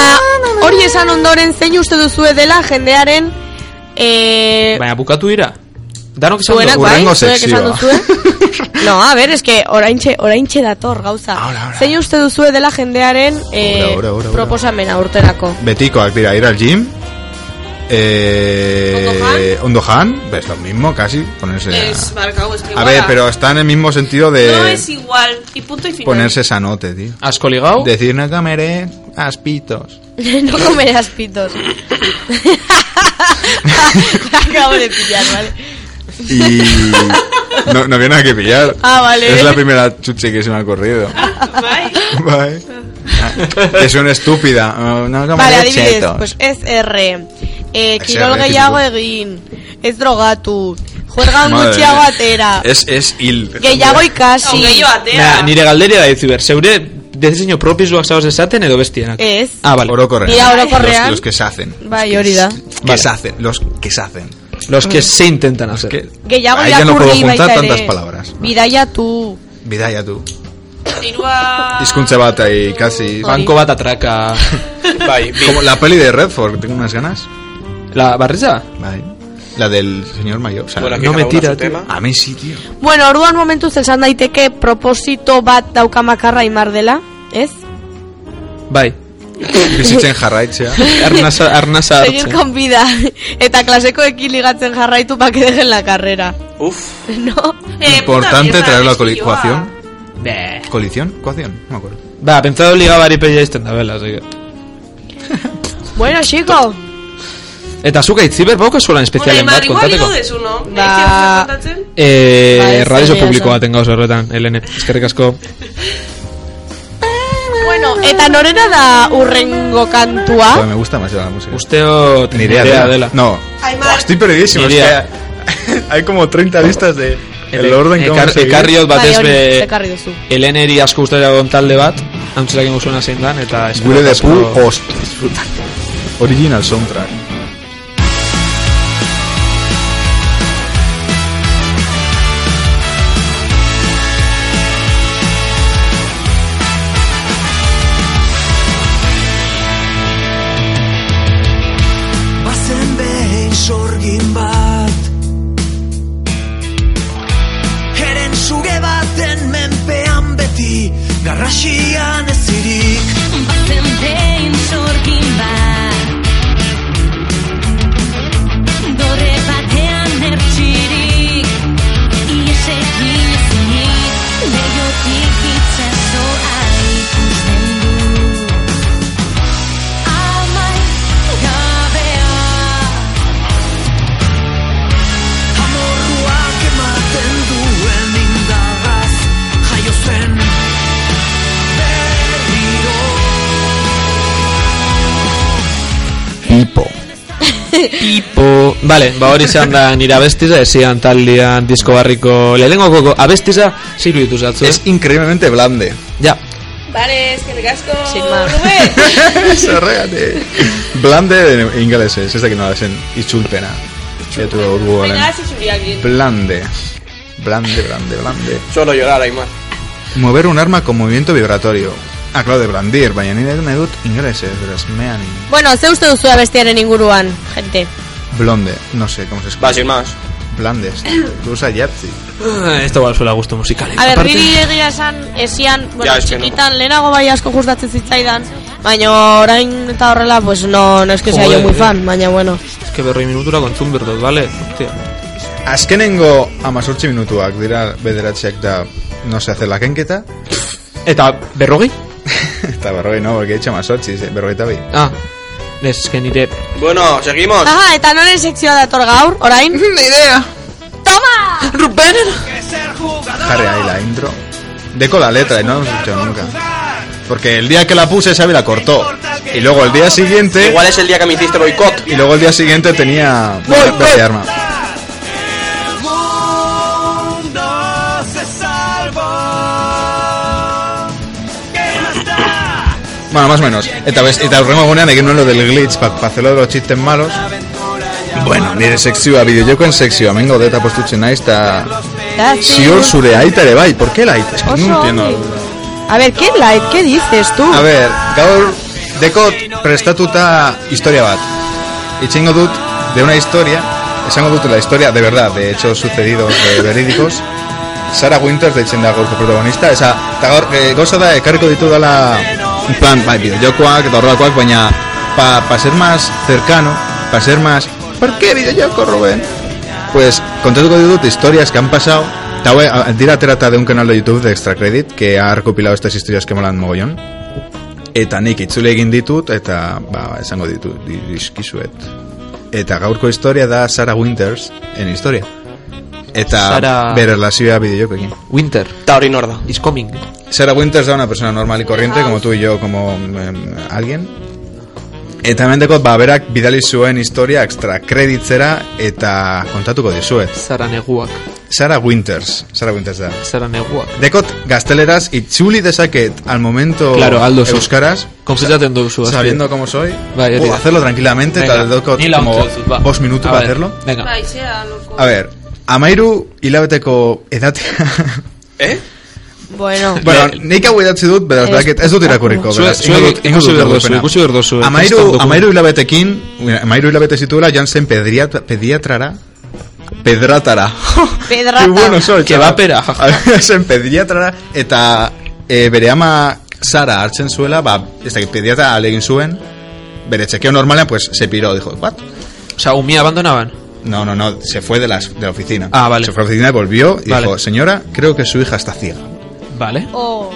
hori esan ondoren zein uste duzue dela jendearen... Eh, Baina bukatu dira. Danok esan Zuenak du. bai, Ba, hurrengo zuek esan sekzioa. duzue. No, a ver, es que oraintxe, oraintxe dator gauza. Ahora, ahora. Zein uste duzue dela jendearen eh, Ahora, ahora, ahora, ahora. proposamena urterako. Beticoac, dirá, ir al gym. Eh, Ondohan, ves lo mismo casi ponerse a- es marcado, es que a igual ver, pero está en el mismo sentido No de es igual. Y punto y final. ponerse sanote, tío. Asko ligau. Decir no comeré aspitos. no comerás pitos. Acabo de pillar, vale. Y no, no había nada que pillar. Ah, vale. Es la primera chuche que se me ha ocurrido. Bai. Bye. Que suena estúpida. No, no comeré Vale, adibidez, chetos. pues ez erre. Eh, Ez kirol erre, gehiago kirol. egin. Ez drogatu. Juergan Madre gutxiago mía. atera. Es, es il. Gehiago ikasi. Aunque yo Na, atea. nire galderia da izu ber, zeure dezeño propizua zauz esaten edo bestienak. Ez. Ah, vale. Orokorrean. Dira Los, orokorrean. los que se hacen. Bai, hori da. Que Vale. se hacen. Los que se hacen. Los que se intentan hacer. Que, Gehiago Ahí ya no puedo irakurri juntar baita ere. tantas palabras. Bidaiatu. Vidaya tú. Dirua. Hizkuntza bat ahí casi. Banko bat atraka. Bai, bi. Como la peli de Redford. Tengo unas ganas. La barriza? Vale. La del señor mayor. o sea, Bueno, aquí No cada me uno a su tira, tío. tema. A mí sí, tío. Bueno, orduan momentuz esan daiteke proposito bat dauka makarra imar dela, ez? Bai. Bizitzen jarraitzea. Arnasa, arnasa Seguir hartzen. con vida. Eta klasekoekin ligatzen jarraitu pa que dejen la carrera. Uf, No? Eh, Importante puta traer la mierda, coli- es que ah. coacción. Beh. ¿Colición? ¿Coacción? No me acuerdo. Ba, pentsado ligabari peia izten da, bela, así que. Bueno, chico. Eta zuka itziber bauka zuelan Bueno, espezialen Aimar, bat, igual kontateko. hiru dezu, no? Este Ba. Nahi zer kontatzen? Eh, Bai, radio zaila publiko da. baten gauz horretan, Elene. Eskerrik asko. Bueno, eta norena da urrengo Joder, kantua? me gusta más la música. Usteot ¿Ah? Ni idea, nirea tío. dela. No. Aimar. Buah, estoy perdidísimo. Ni es idea. que hay como 30 listas de el orden eh, que vamos a seguir. Ekarriot bat Bai, ez hori, be... ekarri duzu. Eleneri asko gustatu dagoen talde bat, hantzelak ingo zuena zein dan, eta Gure espero de asko- pu, host. Original soundtrack. Bazen behin sorgin bat Heren suge baten menpean beti Garrasian ezirik Bazen behin sorgin bat Dorre batean ertsirik Ies egin ezinik Leiotik itxasoa ikusten du Amai gabea Amorruak ematen duen indarraz Jaio zen berriro Pipo. Pipo. Vale, ba hori izan da nire abestiza, ezian taldean disko barriko lehenengoko abestiza, ziru dituz atzu, eh? Es increíblemente blande. Ja, Vale, eskerrik asko. Sin Zorregatik. blande de ingelesez, ez dakit nola zen itzulpena. Etu orduaren. Venga, zizuriakin. Blande. Blande, blande, blande. Solo llorar, Aymar. Mover un arma con movimiento vibratorio. Ah, claro, de brandir, baina nire nahi dut ingelesez, beraz, mean Bueno, ze uste duzu abestiaren inguruan, gente. blonde, no sé, ¿cómo se escribe? este. Va, sin más. Blandes, usa Yapsi. Ah, Esto igual suela gusto musical. A ber, niri egia esan, esian, bueno, Ja, es que no. txikitan, lehenago bai asko gustatzen zitzaidan, baina orain eta horrela, pues no, no es que sea yo Joder, muy eh. fan, baina bueno. Es que berroi minutura kontzun berdot, vale? Hostia. Azkenengo amazortzi minutuak dira bederatziak da, no se hace la kenketa. Eta berrogei? Eta berroi, no, porque he hecho amazortzi, eh, berroi eta bi. Ah, ez, es que nire... Bueno, seguimos. Aha, eta noren sekzioa dator gaur, orain? Ni idea! Toma! Ruben! Harry ahí la intro. Deco la letra y no la hemos escuchado nunca. Porque el día que la puse, Xavi la cortó. Y luego el día siguiente. Igual es el día que me hiciste boicot. Y luego el día siguiente tenía. Boicot. Verde arma. El mundo se salvó Que no está Bueno, más o menos. Esta vez, eta urrengo egunean egin nuen lo del glitch, para hacerlo de los chistes malos. Bueno, nire sexua, bideojokoen sexua, mengo deta postutzen naiz, eta... Zior zure aita ere bai, por qué la aita? Es que Oso no entiendo. ongi. A ver, ¿qué like? ¿Qué dices tú? A ver, gaur dekot prestatuta historia bat. Itxingo dut de una historia, esango dut la historia de verdad, de hechos sucedidos eh, verídicos. Sara Winters deitzen da gaurko protagonista, esa ta gaur eh, gauza da ekarriko ditu dela en plan bai bideojokoak eta horrelakoak, baina pa, pa ser más cercano, pa ser más ¿Por qué videojuego, Rubén? Pues contando dut historias que han pasado. Eta hau, eh, dira terata de un canal de YouTube de Extra Credit que ha recopilado estas historias que molan mogollón. Eta nik itzule egin ditut eta ba, esango ditut di- dizkizuet. Eta gaurko historia da Sarah Winters en historia. Eta Sarah- bere relazioa bideojokoekin. Winter, Taurin Orda. is coming. Sarah Winters da una persona normal y corriente, como tú y yo, como em, alguien. Eta hemen dekot, ba, berak bidali zuen historia extra kreditzera eta kontatuko dizuet. Zara neguak, Sarah Winters, Sarah Winters da. zara neguak. Dekot gazteleraz itzuli dezaket al momento Claro, aldo zu. euskaraz, Konfitaten duzu, azpi. sabiendo cómo soy, Bai, hori puedo da. hacerlo tranquilamente, Venga, tal dekot ni la como ontzut, ba. dos minutos A para ver, hacerlo. Venga. Bai, zea, lorko. A ver, amairu hilabeteko edatea... ¿Eh? Bueno, Bueno, nik hau idatzi dut, beraz, Ez- braket, ez dut irakurriko. Zue- beraz, zuek ingo dut- ingo ikusi dut behar duzu, laburpena. ikusi behar duzu, Amairu, kriston dokumentu. amairu hilabetekin, amairu hilabete zituela, joan zen pediatra- pediatrara, pedratara. Pedratara. Qué bueno soy, Que chaval. va pera. Joan zen pediatrara, eta e, bere ama Sara hartzen zuela, ba, ez dakit pediatra alegin zuen, bere txekeo normalean, pues, se piró, dijo, what? Osa, umia abandonaban. No, no, no, se fue de la, de la oficina. Ah, vale. Se fue a la oficina y volvió y Vale. dijo, señora, creo que su hija está ciega. Vale. oh,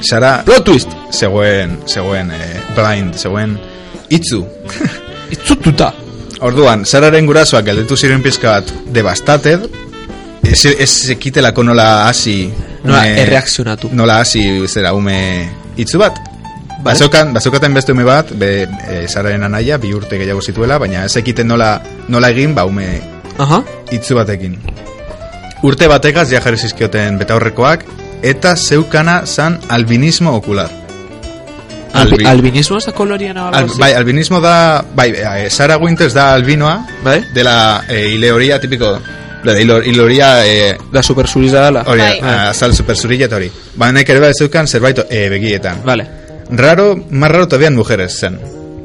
Sara, Plot twist. zegoen, zegoen eh, blind, zegoen itzu. Itzututa. Orduan, Sararen gurasoak galdetu ziren pizka bat devastated, ez, ez zekitelako nola hasi... Nola ume- erreakzionatu. Nola hasi, zera, ume itzu bat. Vale. Bazaukan, bazaukaten beste ume bat, be, e, Sararen anaia, bi urte gehiago zituela, baina ez zekiten nola, nola egin, ba, ume Aha. itzu batekin. Urte bategaz ja jarri zizkioten betaurrekoak, eta zeukana zan albinismo okular. Albi, Albi- albinismo ez da koloriana Al, bai, albinismo da, bai, eh, Sara Winters da albinoa, bai? De la eh, hileoria tipiko, de hilo, hiloria... Eh, da superzuriza dela. Hori, Bai. bai. azal superzurilla eta hori. Ba, nek ere bai zeukan zerbait eh, begietan. Vale. Raro, más raro todavía en mujeres zen.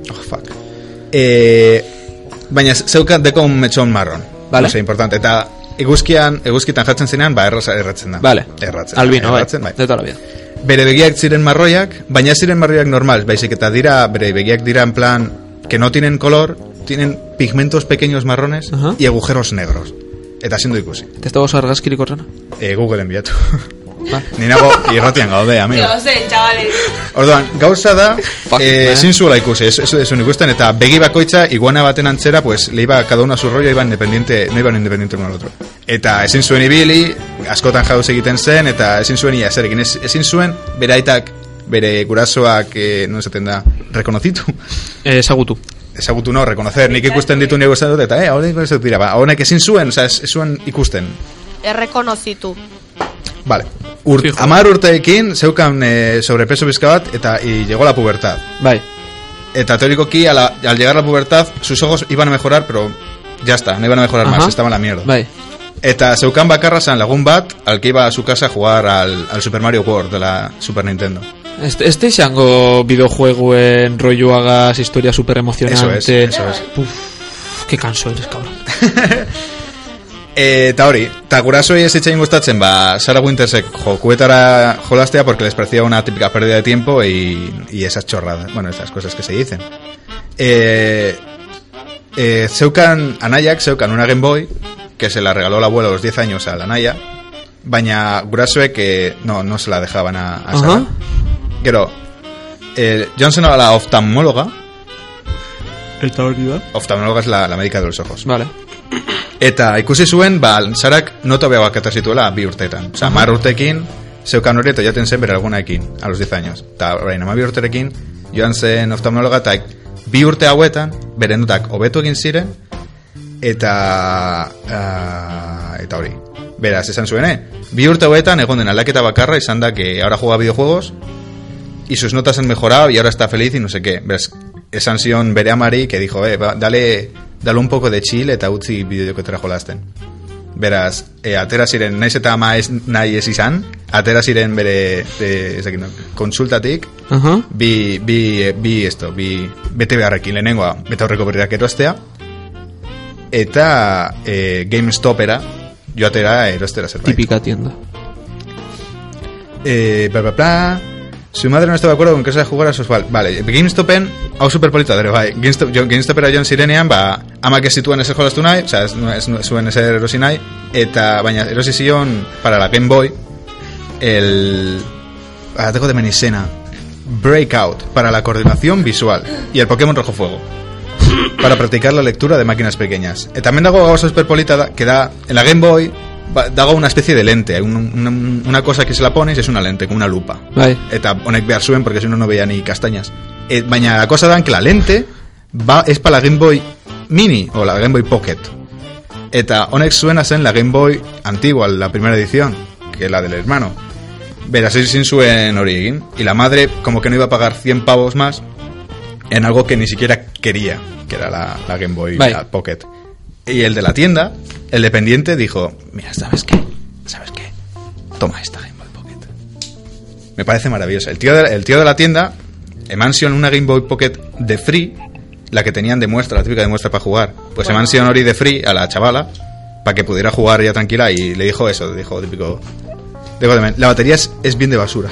Oh, fuck. Eh, baina zeukan deko un mechón marron. Vale. Oso, importante. Eta eguzkian, eguzkitan jatzen zenean, ba, erraza erratzen da. Vale. Erratzen. Albino, bai. erratzen, De toda la vida. bere begiak ziren marroiak, baina ez ziren marroiak normal, baizik eta dira, bere begiak dira en plan, que no tienen color, tienen pigmentos pequeños marrones y agujeros negros. Eta zindu ikusi. Eta ez dago oso argazkirik horrena? E, Google enbiatu. Ni nago irratian gaude, amigo. Jose, chavales. Orduan, gauza da, eh, man. ezin zuela ikusi, ez, ez, ezin ikusten, eta begi bakoitza iguana baten antzera, pues, le iba cada una a su rollo, iban independiente, no iban independiente uno al otro. Eta ezin zuen ibili, askotan jauz egiten zen, eta ezin zuen ia zerekin, ez, ezin zuen, bere aitak, bere gurasoak, eh, non esaten da, rekonozitu. Eh, ezagutu. Ezagutu no, reconocer, nik ikusten ditu nire guztan dut, eta, eh, hori ikusten dira, ba, honek ezin zuen, oza, ez, ez zuen ikusten. Errekonozitu. Vale. Ur, amar urteekin zeukan eh, sobrepeso bizka bat eta y llegó la pubertad. Bai. Eta teórikoki a la- al llegar a la pubertad sus ojos iban a mejorar, pero ya está, no iban a mejorar Ajá. más, estaba en la mierda. Bai. Eta zeukan bakarra zan lagun bat al que iba a su casa a jugar al, al Super Mario World de la Super Nintendo. Este, este izango bideojueguen rolloagaz historia super emocionante. Eso es, eso es. Puf, qué canso eres, cabrón. Eh, Eta hori, eta gurasoi ez itxain gustatzen, ba, Sara Wintersek jokuetara jolastea porque les parecía una típica pérdida de tiempo y, y esas chorradas, bueno, esas cosas que se dicen. Eh, eh, zeukan anaiak, zeukan una Game Boy, que se la regaló el abuelo a los 10 años a la anaia, baina gurasoek que no, no se la dejaban a, a Sara. Ajá. Gero, eh, Johnson a la oftalmóloga. Eta hori da? Oftalmóloga es la, la médica de los ojos. Vale. Eta ikusi zuen, ba, Sarak nota behagoak eta zituela bi urtetan. Osa, mar urtekin, zeukan hori eta jaten zen bere algunaekin, a los 10 años. Eta, orain, ama bi urterekin, joan zen oftalmóloga, eta bi urte hauetan, bere notak hobetu egin ziren, eta... ah, eta hori. Beraz, esan zuen, eh? Bi urte hauetan, egon den aldaketa bakarra, izan da, que ahora juega a videojuegos, y sus notas han mejorado y ahora está feliz y no sé qué. Verás, es Ansion bere amari que dijo, eh, va, dale, dale un poco de chill eta utzi bideokoetara jolasten. Beraz, e, atera ziren, naiz eta ama ez nahi ez izan, atera ziren bere, e, ez dakit non, konsultatik, Ajá. bi, bi, eh, bi, esto, bi, bete beharrekin lehenengoa, betaurreko berriak erostea, eta e, GameStopera, joatera erostera zerbait. Típica tienda. Eh, bla, bla, bla. Su madre no estaba de acuerdo con que se jugara a sus bal. Vale, GameStopen, hau superpolita, dero, bai. GameStop, jo, GameStopera joan zirenean, ba, ama que zituen ezer jolastu nahi, oza, ez, nu- ez, nu- zuen ezer erosi nahi, eta baina erosi zion, para la Game Boy, el... Ah, tengo de menisena. Breakout, para la coordinación visual, y el Pokémon Rojo Fuego. Para practicar la lectura de máquinas pequeñas. Eh, también dago gauza superpolita da- que da en la Game Boy ba- dago una especie de lente, un- un- una cosa que se la pones es una lente, con una lupa. Bai. Eta honek behar zuen, porque si no, no veía ni castañas. Eh, baina la cosa dan que la lente va, es para la Game Boy Mini o la Game Boy Pocket. Eta honek suena zen la Game Boy antigua, la primera edición, que la del hermano. Verás, sin suen hori egin. Y la madre, como que no iba a pagar 100 pavos más en algo que ni siquiera quería, que era la, la Game Boy Bai. la Pocket. Y el de la tienda, el dependiente, dijo: Mira, ¿sabes qué? ¿Sabes qué? Toma esta Game Boy Pocket. Me parece maravillosa. El tío de, el tío de la tienda, Emansion, una Game Boy Pocket de free, la que tenían de muestra, la típica de muestra para jugar. Pues Emansion Ori de free a la chavala, para que pudiera jugar ya tranquila, y le dijo eso, dijo típico. Digo, la batería es, es bien de basura.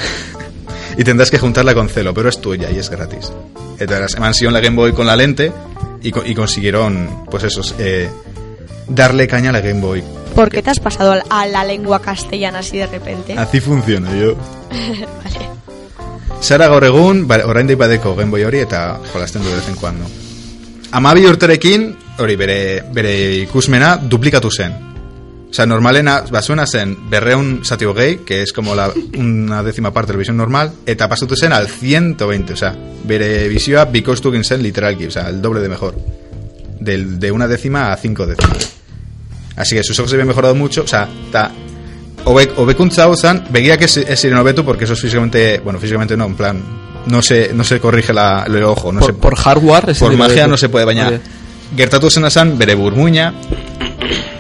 y tendrás que juntarla con celo, pero es tuya y es gratis. Entonces, mansión la Game Boy con la lente y, co- y consiguieron, pues esos, eh, darle caña a la Game Boy. ¿Por qué te has pasado al- a la lengua castellana así de repente? Así funciona, yo. vale. Sara gaur egun, ba- oraindik badeko Game Boy hori eta jolasten du de vez en cuando. Amabi urterekin, hori bere, bere ikusmena duplikatu zen. O sea, normalena, ba, zuena zen berreun zati hogei, que es como la, una décima parte de la visión normal, eta pasatu zen al 120, o sea, bere visioa bikostu egin zen literalki, o sea, el doble de mejor. Del, de una décima a cinco décimas. Así que sus ojos se habían mejorado mucho, o sea, ta, hobek- hobekuntza hau zan, begiak ez, ez ziren hobetu, porque eso es físicamente, bueno, físicamente no, en plan, no se, no se corrige la, el ojo, no por, se, por hardware. ez por dira magia hobetu. no se puede baina Hori da. gertatu zena zan bere burmuina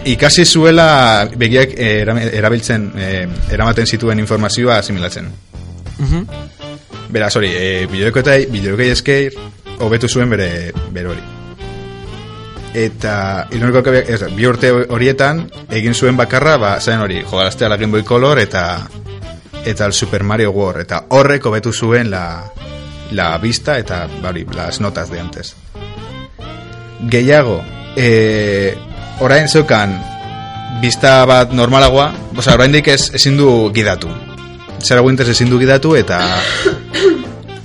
ikasi zuela begiak eh, eram- erabiltzen eh, eramaten zituen informazioa asimilatzen Mhm. beraz hori e, bideokoetai bideokei esker hobetu zuen bere, bere hori eta iloneko ez, da, bi urte horietan egin zuen bakarra ba, zen hori jogaraztea la Game Boy Color eta eta el Super Mario World eta horrek hobetu zuen la, la vista eta ba, hori, las notas de antes gehiago e, orain zeukan bizta bat normalagoa osea oraindik ez ezin du gidatu Sara Winters ezin du gidatu eta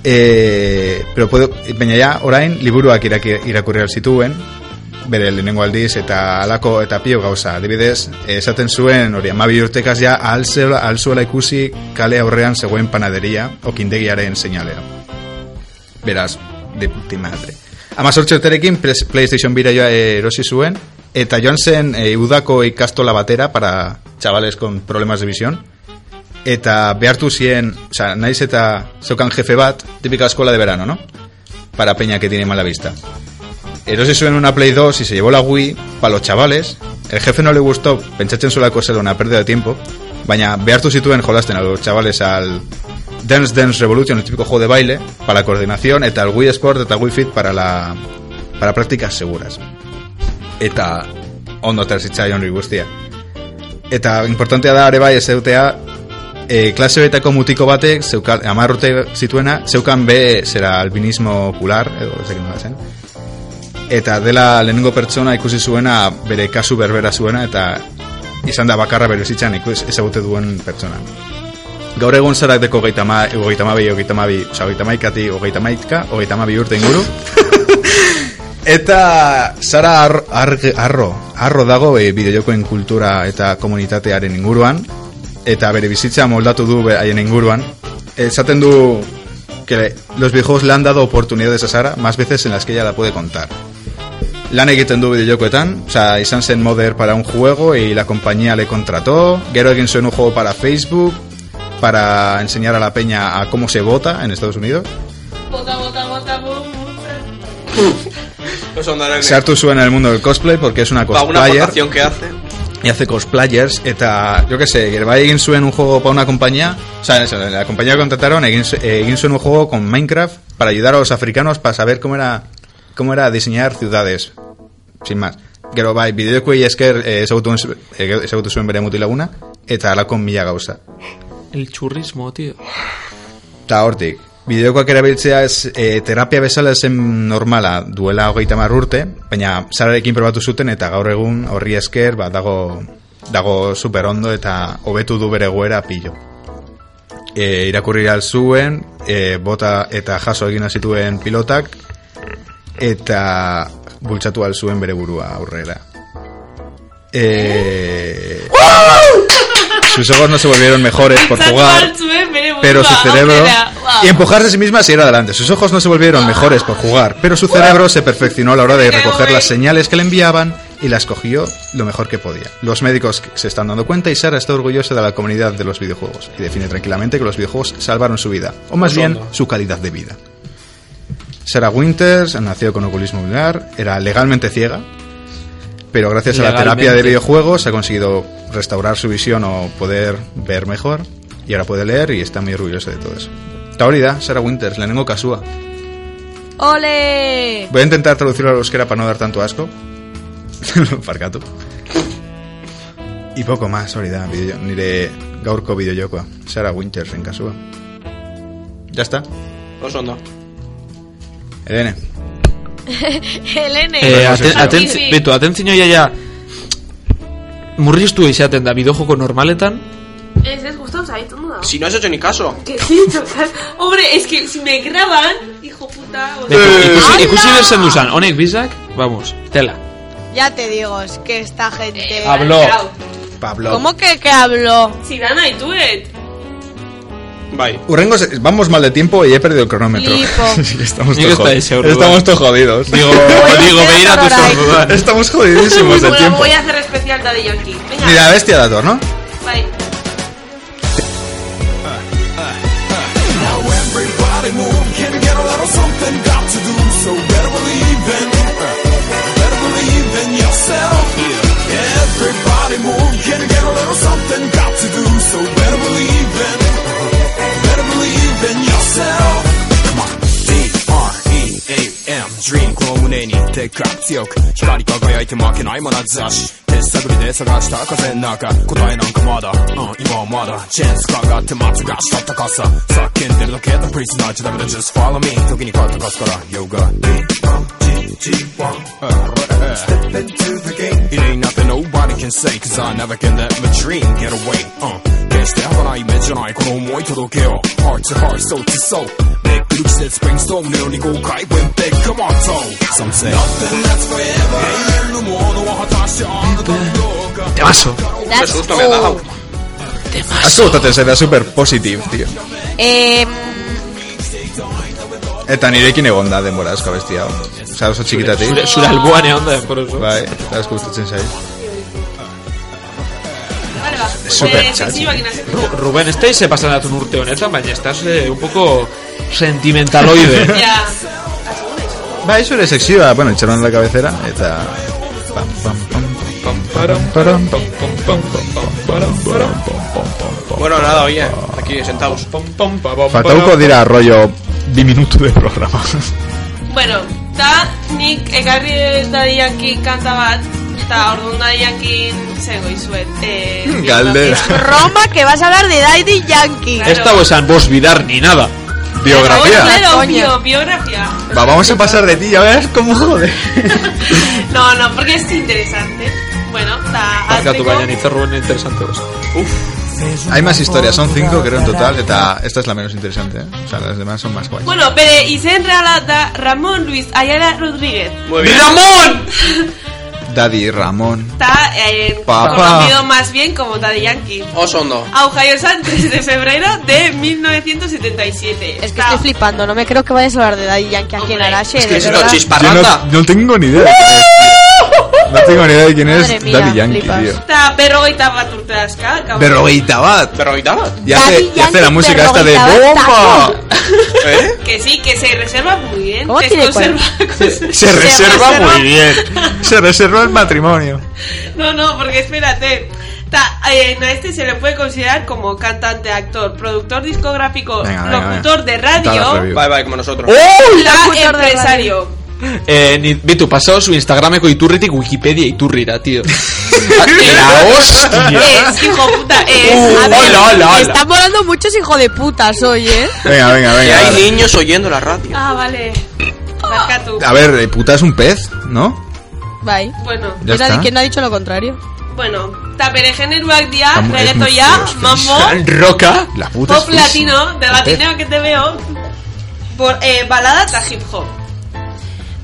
e, pero puedo, baina ja orain liburuak iraki, irakurri ahal zituen bere lehenengo aldiz eta alako eta pio gauza adibidez esaten zuen hori amabi urtekaz ja ahal zela- ahal zuela ikusi kale aurrean zegoen panaderia okindegiaren seinalea beraz de puti madre amazortzi urterekin pres- Playstation bira joa erosi zuen eta joan zen e, udako ikastola batera para chavales con problemas de visión eta behartu zien, osea, naiz eta zeukan jefe bat, típica escuela de verano, ¿no? Para peña que tiene mala vista. Erosi zuen una Play 2 y se llevó la Wii para los chavales. El jefe no le gustó, pentsatzen zuelako zela una pérdida de tiempo, baina behartu zituen jolasten a los chavales al Dance Dance Revolution, el típico juego de baile, para la coordinación, eta el Wii Sport eta Wii Fit para la para prácticas seguras. Eta ondo terzitzaion hori guztia. Eta importantea da, are bai, ez eutea e, klase betako mutiko batek zeukan, hamar urte zituena zeukan be zera albinismo okular edo ez dakit nola zen eta dela lehenengo pertsona ikusi zuena bere kasu berbera zuena eta izan da bakarra bere bizitzan ikus ezagute duen pertsona gaur egun zarak deko hogeita ma, hogeita mabi, hogeita mabi, oza, hogeita maikati, hogeita maika, hogeita mabi urte inguru. eta zara ar, arg- arro, arro dago e, bideojokoen kultura eta komunitatearen inguruan, eta bere bizitza moldatu du be- haien inguruan. Esaten du que los viejos le han dado oportunidades a Sara más veces en las que ella la puede contar. Lan egiten du bideojokoetan, osea, izan zen moder para un juego y la compañía le contrató, gero egin zuen un juego para Facebook, para enseñar a la peña a cómo se vota en Estados Unidos. Bota, bota, bota, bum, bum. Eso andará en Se hartu zuen en el mundo del cosplay porque es una Para una cosplayer aportación que hace. y hace cosplayers eta, yo que sé, que va egin zuen un juego para una compañía, o sea, eso, la compañía que contrataron egin, zu- eh, egin zuen un juego con Minecraft para ayudar a los africanos para saber cómo era cómo era diseñar ciudades. Sin más. Gero bai, bideokuei esker eh, ezagutu eh, ezagutu zuen bere mutilaguna eta alako mila gauza. El churrismo, tío. Eta hortik, bideokoak erabiltzea ez e, terapia bezala zen normala duela hogeita mar urte, baina zararekin probatu zuten eta gaur egun horri esker ba, dago, dago superondo eta hobetu du bere goera pilo. E, irakurri al zuen, e, bota eta jaso egin zituen pilotak, eta bultzatu al zuen bere burua aurrera. E... Sus ojos no se volvieron mejores por Bultzatu jugar, altzuen bere burua pero su cerebro aurrera. Wow. y empujarse a sí misma a seguir adelante. Sus ojos no se volvieron mejores por jugar, pero su cerebro se perfeccionó a la hora de recoger las señales que le enviaban y las cogió lo mejor que podía. Los médicos se están dando cuenta y Sara está orgullosa de la comunidad de los videojuegos y define tranquilamente que los videojuegos salvaron su vida, o más bien su calidad de vida. Sarah Winters nació con oculismo lunar, era legalmente ciega, pero gracias a la Legalmente. terapia de videojuegos ha conseguido restaurar su visión o poder ver mejor, y ahora puede leer y está muy orgullosa de todo eso. Eta hori da, Sarah Winters, lehenengo kasua. Ole! Voy a intentar traducirlo al euskera para no dar tanto asco. Farkatu. Y poco más, hori da, bideo, nire gaurko bideojokoa. Sarah Winters en kasua. Ya está. Oso ondo. Elene. Helene! Eh, Horrelako aten, sexua. atentzi, betu, atentzio ja ja murriztu izaten da bideojoko normaletan Ez, ez, gustau zaitu, no da. Si no has hecho ni caso. Que sí, total. Hombre, es que si me graban, hijo puta. o sea, Betu, ikusi, ikusi berzen duzan, honek bizak, vamos, tela Ya te digo, es que esta Eh, gente... Habló. chao. Pablo. ¿Cómo que, que habló? Si dan nahi duet. Bye. Urrengo, vamos mal de tiempo y he perdido el cronómetro. Flipo. Estamos Ni que todos estáis, jodidos. Eurduan. Estamos todos jodidos. Digo, Bueno, digo, queda beira tu por ahí. sorduan Estamos jodidísimos de Bueno, pues, tiempo. voy a hacer especial Daddy Yankee. Venga, Mira, bestia dator, ¿no? bye. dream この胸にでかく強く光り輝いて負けない眼差し手探りで探した風の中答えなんかまだ、うん、今はまだチェーンスかがって松がしたたかさ叫んでるだけだプリズナーじゃダメだ Just follow me 時に肩貸すからヨガ Step into the game It ain't nothing nobody can say Cause I never can let my dream get away、うん、決して儚い目じゃないこの思い届けよう Heart to heart, soul to soul めくる季節 brainstorm のように豪快 When big, come on, so Some say Nothing lasts forever 永遠のものは果たしてあなたのどうか Temazo. That's Qué susto me ha dado. Asústate, será super positive, tío. Eh, Em, Eta nirekin egon da denbora asko bestia hau. Osa oso txikitatik. Zure- zure alboan egon da denbora oso. Bai, eta asko gustatzen zait. Vale, ba. Super Eh, txatxi. sexy bagina zen. Ru- Ruben, ez da ize pasan datun urte honetan, baina estás eh, un poco sentimentaloide. Ja. Bai, zure sexioa, bueno, itxaron la cabecera, eta... Pam, pam, pam, pam, param, param, pam, pam, pam, pam, pam, param, param, pam, pam, pam, pam. Bueno, nada, oye, aquí sentados. Faltauko dira rollo bi minutu de programa. Bueno, ta nik ekarri dut Daddy Yankee kanta bat, eta orduan Daddy Yankee zengo izuet. Eh, Galdera. Roma, que vas a hablar de Daddy Yankee. Ez dago esan bos bidar ni nada. Claro, Coño. bio- biografía. Ba, vamos a pasar de ti, a ver, como jode. No, no, porque es interesante. Bueno, ta Barkatu hartzeko- baina nitza Ruben interesante oso. Hay más historias, son cinco creo en total, eta esta es la menos interesante, eh? O sea, las demás son más guays. Bueno, bere izen reala da Ramon Luis Ayala Rodríguez. Muy bien. ¡Ramón! Daddy, Ramón... Está eh, Papá. conocido más bien como Daddy Yankee. Osondo. Ah, Aujaio San 3 de febrero de 1977. es que estoy flipando, no me creo que vayas a hablar de Daddy Yankee aquí en Arache. de Yo verdad. no, no tengo ni idea de quién es. tío. No tengo ni idea de quién Madre es mía, Daddy Yankee, flipas. tío. Eta berrogeita bat urte dauzka. gau- Berrogeita bat. Berrogeita bat. Y hace, y hace la música esta de berrogeita bat, bomba. ¿Eh? Que sí, que se reserva muy bien. ¿Cómo Es tiene conserva- Se reserva muy bien. Se reserva el matrimonio. No, no, porque espérate. Ta, eh, a este se le puede considerar como cantante, actor, productor discográfico, Venga, venga, locutor venga. de Todas las radio, reviews. Bye, bye, como nosotros. Oh, la empresario. Eh, ni, bitu, pasao zu Instagrameko iturritik Wikipedia iturrira, tío. La hostia. Es, hijo puta, es. Uh, A ver, hola, hola, hola. Están volando muchos hijos de putas hoy, ¿eh? Venga, venga, Que venga. hay dale. niños oyendo la radio. Ah, vale. Marca tú. A ver, eh, puta es un pez, ¿no? Bye. Bueno. Ya Mira, está. ¿Quién no ha dicho lo contrario? Bueno, ta bere generuak dia, Am- es muy reggaetoia, feo, Ah, mambo, Roca. La puta es pop feísima. latino, de batineo que te veo, por, eh, balada eta hip hop.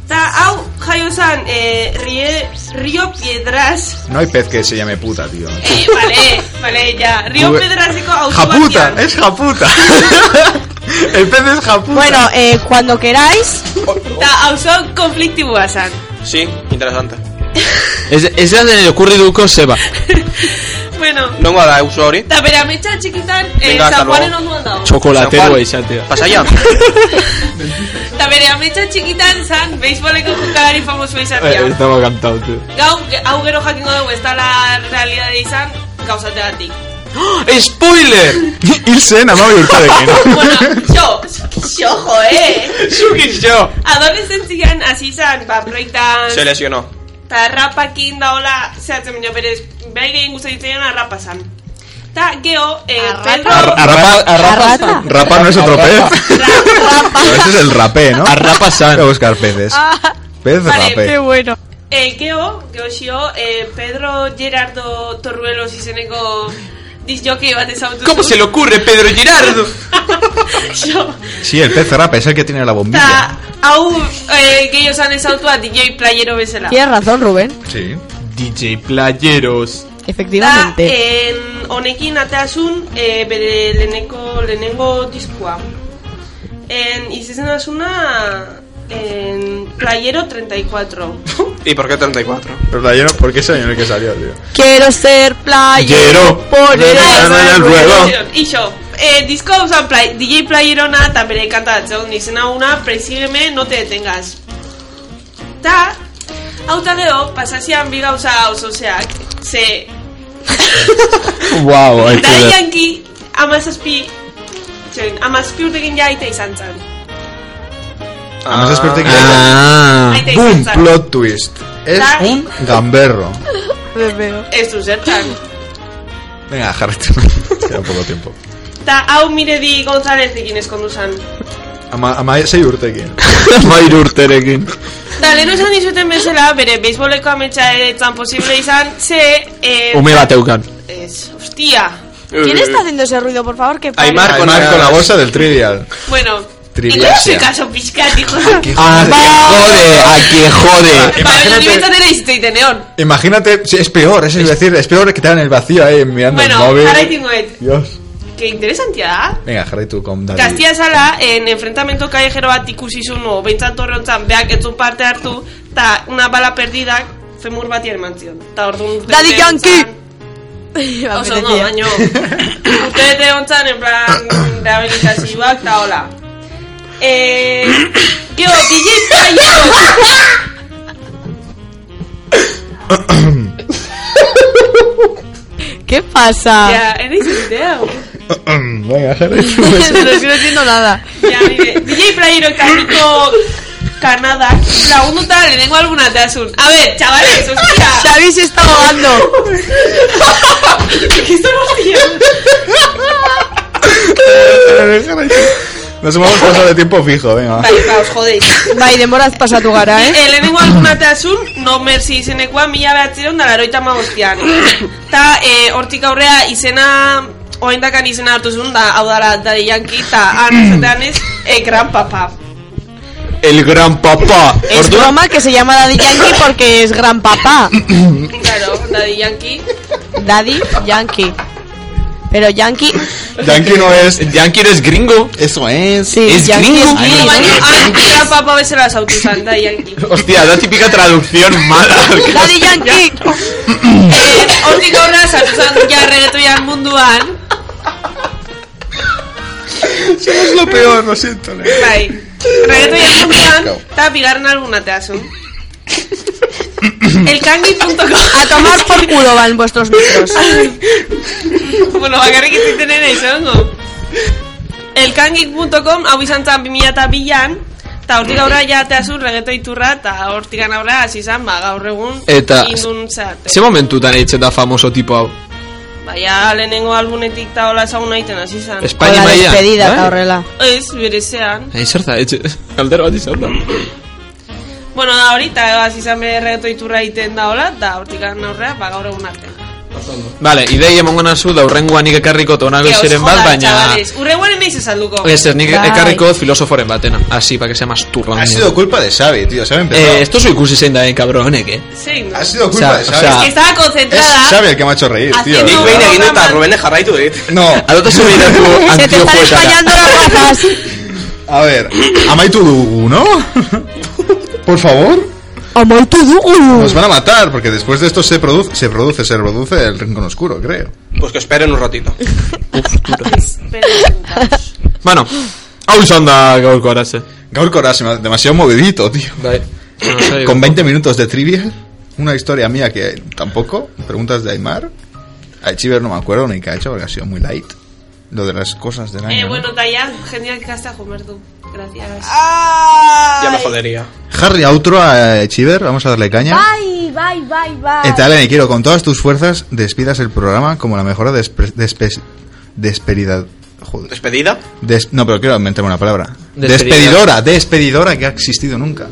Ta hau jaio zan, eh, Rie- Rio Piedras, No hay pez que se llame puta, tío. Eh, vale, vale, ya. Río Ue- Pedrasico Japuta, ¿eh? Autobastián. es japuta. El pez es japuta. Bueno, eh, cuando queráis. Ta auzo konfliktiboa zan. Sí, interesante. Ez, ez da den okurriduko zeba. Bueno, Nongo da uso hori? ta bera metxa txikitan, eh, Venga, hasta San Juanen luego. onduan dago. Txokolateroa izatea. Pasaia? Ta bere ametsa txikitan zan, beisboleko jokalari famoso Eh, izatea. Estaba cantado, tío. Gau, hau gero jakingo dugu, ez da la realidade izan, gauzateatik. Spoiler! Ilsen, amabi urtarekin. bueno, yo, yo, joe. Zuki yo. Adolescentzian hasi zan, ba, breakdance, Se lesionó. Ta rapakin daola, zehatzen baina berez, bai gehien guztetzen ditzen arrapa zan. Ta geho, eh, Pedro... Arrapa, rapa no es otro pez. Pero ese es el rapé, ¿no? Arrapa san. Voy a buscar peces. Pez rapé. bueno. Eh, geho, geho xio, eh, Pedro Gerardo Torruelos izeneko disjoki bat ezagutu ¿Cómo se le ocurre, Pedro Girardo? Xo, Sí, el pez rapa es el que tiene la bombilla. ta, hau, eh, gehiago zan ezautua DJ Playero bezala. Tienes razón, Rubén. Sí. DJ Playeros. Ta, Efectivamente. eh, honekin ateasun, eh, bere leheneko, lehenengo diskoa. En, izezen asuna, en, Playero 34. ¿Y por qué 34? Pero la lleno, ¿por qué ese año en el que salió, tío? Quiero ser playero. Quiero. Por el Quiero. alma. Baina luego. Ixo, eh, disco usan play, DJ Playerona eta bere kanta datzeu, izena una, presígueme, no te detengas. Ta, hau ta gero, pasazian bi gauza oso zeak, ze, Wow, Daddy Yankee, amazazpi, zen, amazazpi urtekin jaita izan zen. Además desperté que... Ah. Ahí te ¡Boom! insertan. Plot twist. Es Dale. un gamberro. Ez du zertan. Venga, jarrete. Queda poco tiempo. Ta hau miredi Gonzalezekin eskondu zan. Ama, ama sei urtekin. Amairu urterekin. Da, lehen esan dizuten bezala, bere beisboleko ametsa etzan posible izan, ze... Eh, Ume bat eukan. Ez, hostia. ¿Quién está haciendo ese ruido, por favor? Que pare. Aymar con, la bolsa del trivial. Bueno, Trivial. ikusi kaso pixkat, hijo. ¡A Ah, jode! ¡A que jode! Baina, Ah, Imagínate- hori bintzat ere izteiten egon. Imagínate, sí, es peor, eso iba a decir, es peor que te en el vacío ahí mirando Bueno, el móvil. jarraitingo et. Dios. Que interesantia da. Venga, jarrai tú con David. Gaztia zala, ¿ah? en enfrentamento callejero bat ikusi zuen, o behintzat horreontzan, behak etzun parte hartu, eta una bala perdidak femur bati eman zion. Ta orduan... Daddy bete Yankee! Ah, ontzan- Iba a Oso, no, merecer. baino... Urte bete ontzan, en plan, rehabilitazioak, eta hola. Eh... Gero, DJ Playero... ¿Qué pasa? Ya, pues, eres idea, Venga, jarrai tú. no estoy haciendo nada. Ya, mire, DJ Playero Kaniko Kanadak lagunduta lehenengo alguna te asun. A ver, chavales, hostia. Xavi se está ahogando. ¿Qué estamos haciendo? Nos hemos pasado de tiempo fijo, venga. va. Vale, va, os jodéis. Bai, demoraz pasatu gara, eh? Eh, lehenengo alguna te asun, no mercy izenekoa mila behatzeron da laroita magostian. Ta, eh, hortik aurrea izena... Oendakan izena hartu zuen, da, hau dara, da Yankee, eta han esatean ez, eh, gran papa. El gran papá. Es broma que se llama Daddy Yankee porque es gran papá. Claro, Daddy Yankee. Daddy Yankee. Pero Yankee. Yankee no es. Yankee no es gringo. Eso es. Sí, Es Yankee gringo. es Baina, gay. han gran papa bezala zautu zan, Daddy Yankee. Hostia, la típica traducción mala. Daddy Yankee. Eh, hortik aurrera sartu zan, ja, reggaetoian munduan, Es lo peor, lo siento. Leo. Bai, reggaetoian munduan, eta bigarren alguna teasun. Elkangi.com A tomar por culo van vuestros micros. Bueno, bakarrik iziten ere izango. Elkangi.com hau izan zen 2000 eta bilan, eta hortik aurra ja teasun reggaetoi turra, eta hortik aurra hasi izan, ba, gaur egun Eta- indun zate. Ze momentutan eitzen da famoso tipo hau? Baina lehenengo albunetik eta hola ezaguna egiten hasi izan. Espaini la mailan. despedida eta horrela. Ez, berezean. Hain zerta, etxe, galdera bat izan da. Bueno, da hori, eta hasi izan bere reggaetoi turra egiten da hola, eta hortik aurrera, ba, gaur egun arte. Vale, idei emongo nazu daurrengoa nik ekarriko tonago Que os izeren bat, jodan, baina... chavales. Hurrengoan ez naiz esalduko. Ez, ez, nik Bai. ekarriko dut filosoforen batena. Así, para que sea más turra. Ha sido culpa de Xavi, tío, se ha empezado. Eh, esto soy ikusi zein da, eh, cabronek, eh. Zein, no? Ha sido O culpa sea, de o Xavi. sea- Que estaba es concentrada. Xavi el que me ha hecho reír, tío. Haciendo- Nik No, behin Programa. egin dut, eta Rubene jarraitu dit. No, Adota subiratu Se te están antiojuetara. españando las gafas. a ver. Amaitu dugu, ¿no? Por favor. Amaitu dugu. Nos van a matar, porque después de esto se produce, se produce, se produce el rincón oscuro, creo. Pues que esperen un ratito. Bueno, hau izan da gaurko araze. Gaurko Horacio, demasiado movidito, tío. Bai. No, soy- Con 20 minutos de trivia, una historia mía que tampoco, preguntas de Aymar. A Chiver no me acuerdo ni qué ha hecho porque ha sido muy light. Lo de las cosas del año. Eh, ¿no? bueno, eta ya, jendeak ikastea jo behar du. Gracias. Ah. Ya me jodería. Harry, outro a Chiver, vamos a darle caña. Bye, bye, bye, bye. Etale, me quiero con todas tus fuerzas despidas el programa como la mejora despre- despe- desperidad. Joder. Despedida. Des- no, pero quiero inventarme una palabra. Despedida. Despedidora, despedidora que ha existido nunca.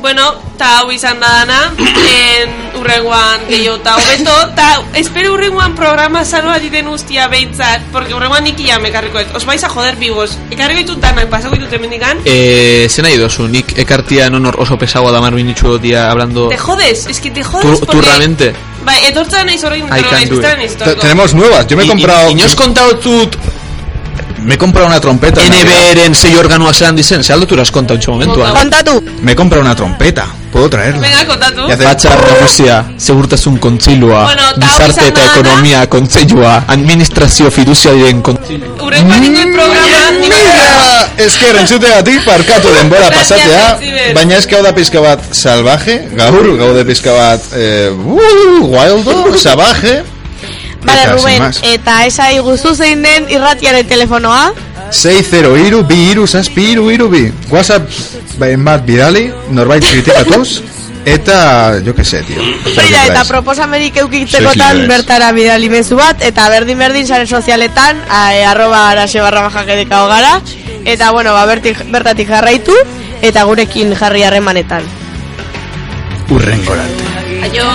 Bueno, eta hau izan da dana, en urrengoan gehiago eta hobeto, eta espero urrengoan programa sanoa diten ustia behintzat, porque urrengoan nik ia mekarrikoet. Os vais a joder vivos. Ekarri ditut danak, pasako ditut emendikan. Eh, zena idozu, nik ekartia nonor oso pesagoa da marmin itxu dia hablando... Te jodes, es que te jodes tur- porque... Turramente. Bai, etortzen naiz horrein, I pero can naiz do it. biztan naiz Te- Tenemos nuevas, yo me he Y- y- comprado. Y no os contado tu Me he comprado una trompeta. en Navidad. NBRen sei organoa zelan dizen, ze aldatu las konta utxo momentuan. Kontatu. E. Me he comprado una trompeta. Puedo traerla. Venga, kontatu. Y hacer- Batzar nagusia, segurtasun kontzeilua, Bueno, eta hau gizarte izan eta da, ekonomia kontzeilua, administrazio fiduzia diren kontzeilua. Mm, Urrengoan ikuet programa, nik Mira, esker entzuteagatik parkatu denbora Gracias, pasatea Itziber. Baina ez gau da pizka bat salvaje Gaur, gau da pizka bat eh, uh, Wildo, salvaje Vale, eh, Eta, sin Ruben, más. eta esa iguzu zein den irratiaren telefonoa? 6-0 iru, bi iru, zazpi iru, iru, bi. WhatsApp ben bat bidali, norbait kritikatuz, eta, jo que sé, tío. Hori da, eta proposamerik eukitzekotan Sois libres. bertara bidali mezu bat, eta berdin-berdin sare sozialetan, a, e, arroba arase barra bajak edekao gara, eta bueno, ba, berti- bertatik jarraitu, eta gurekin jarri harremanetan. Urrengora. Aio!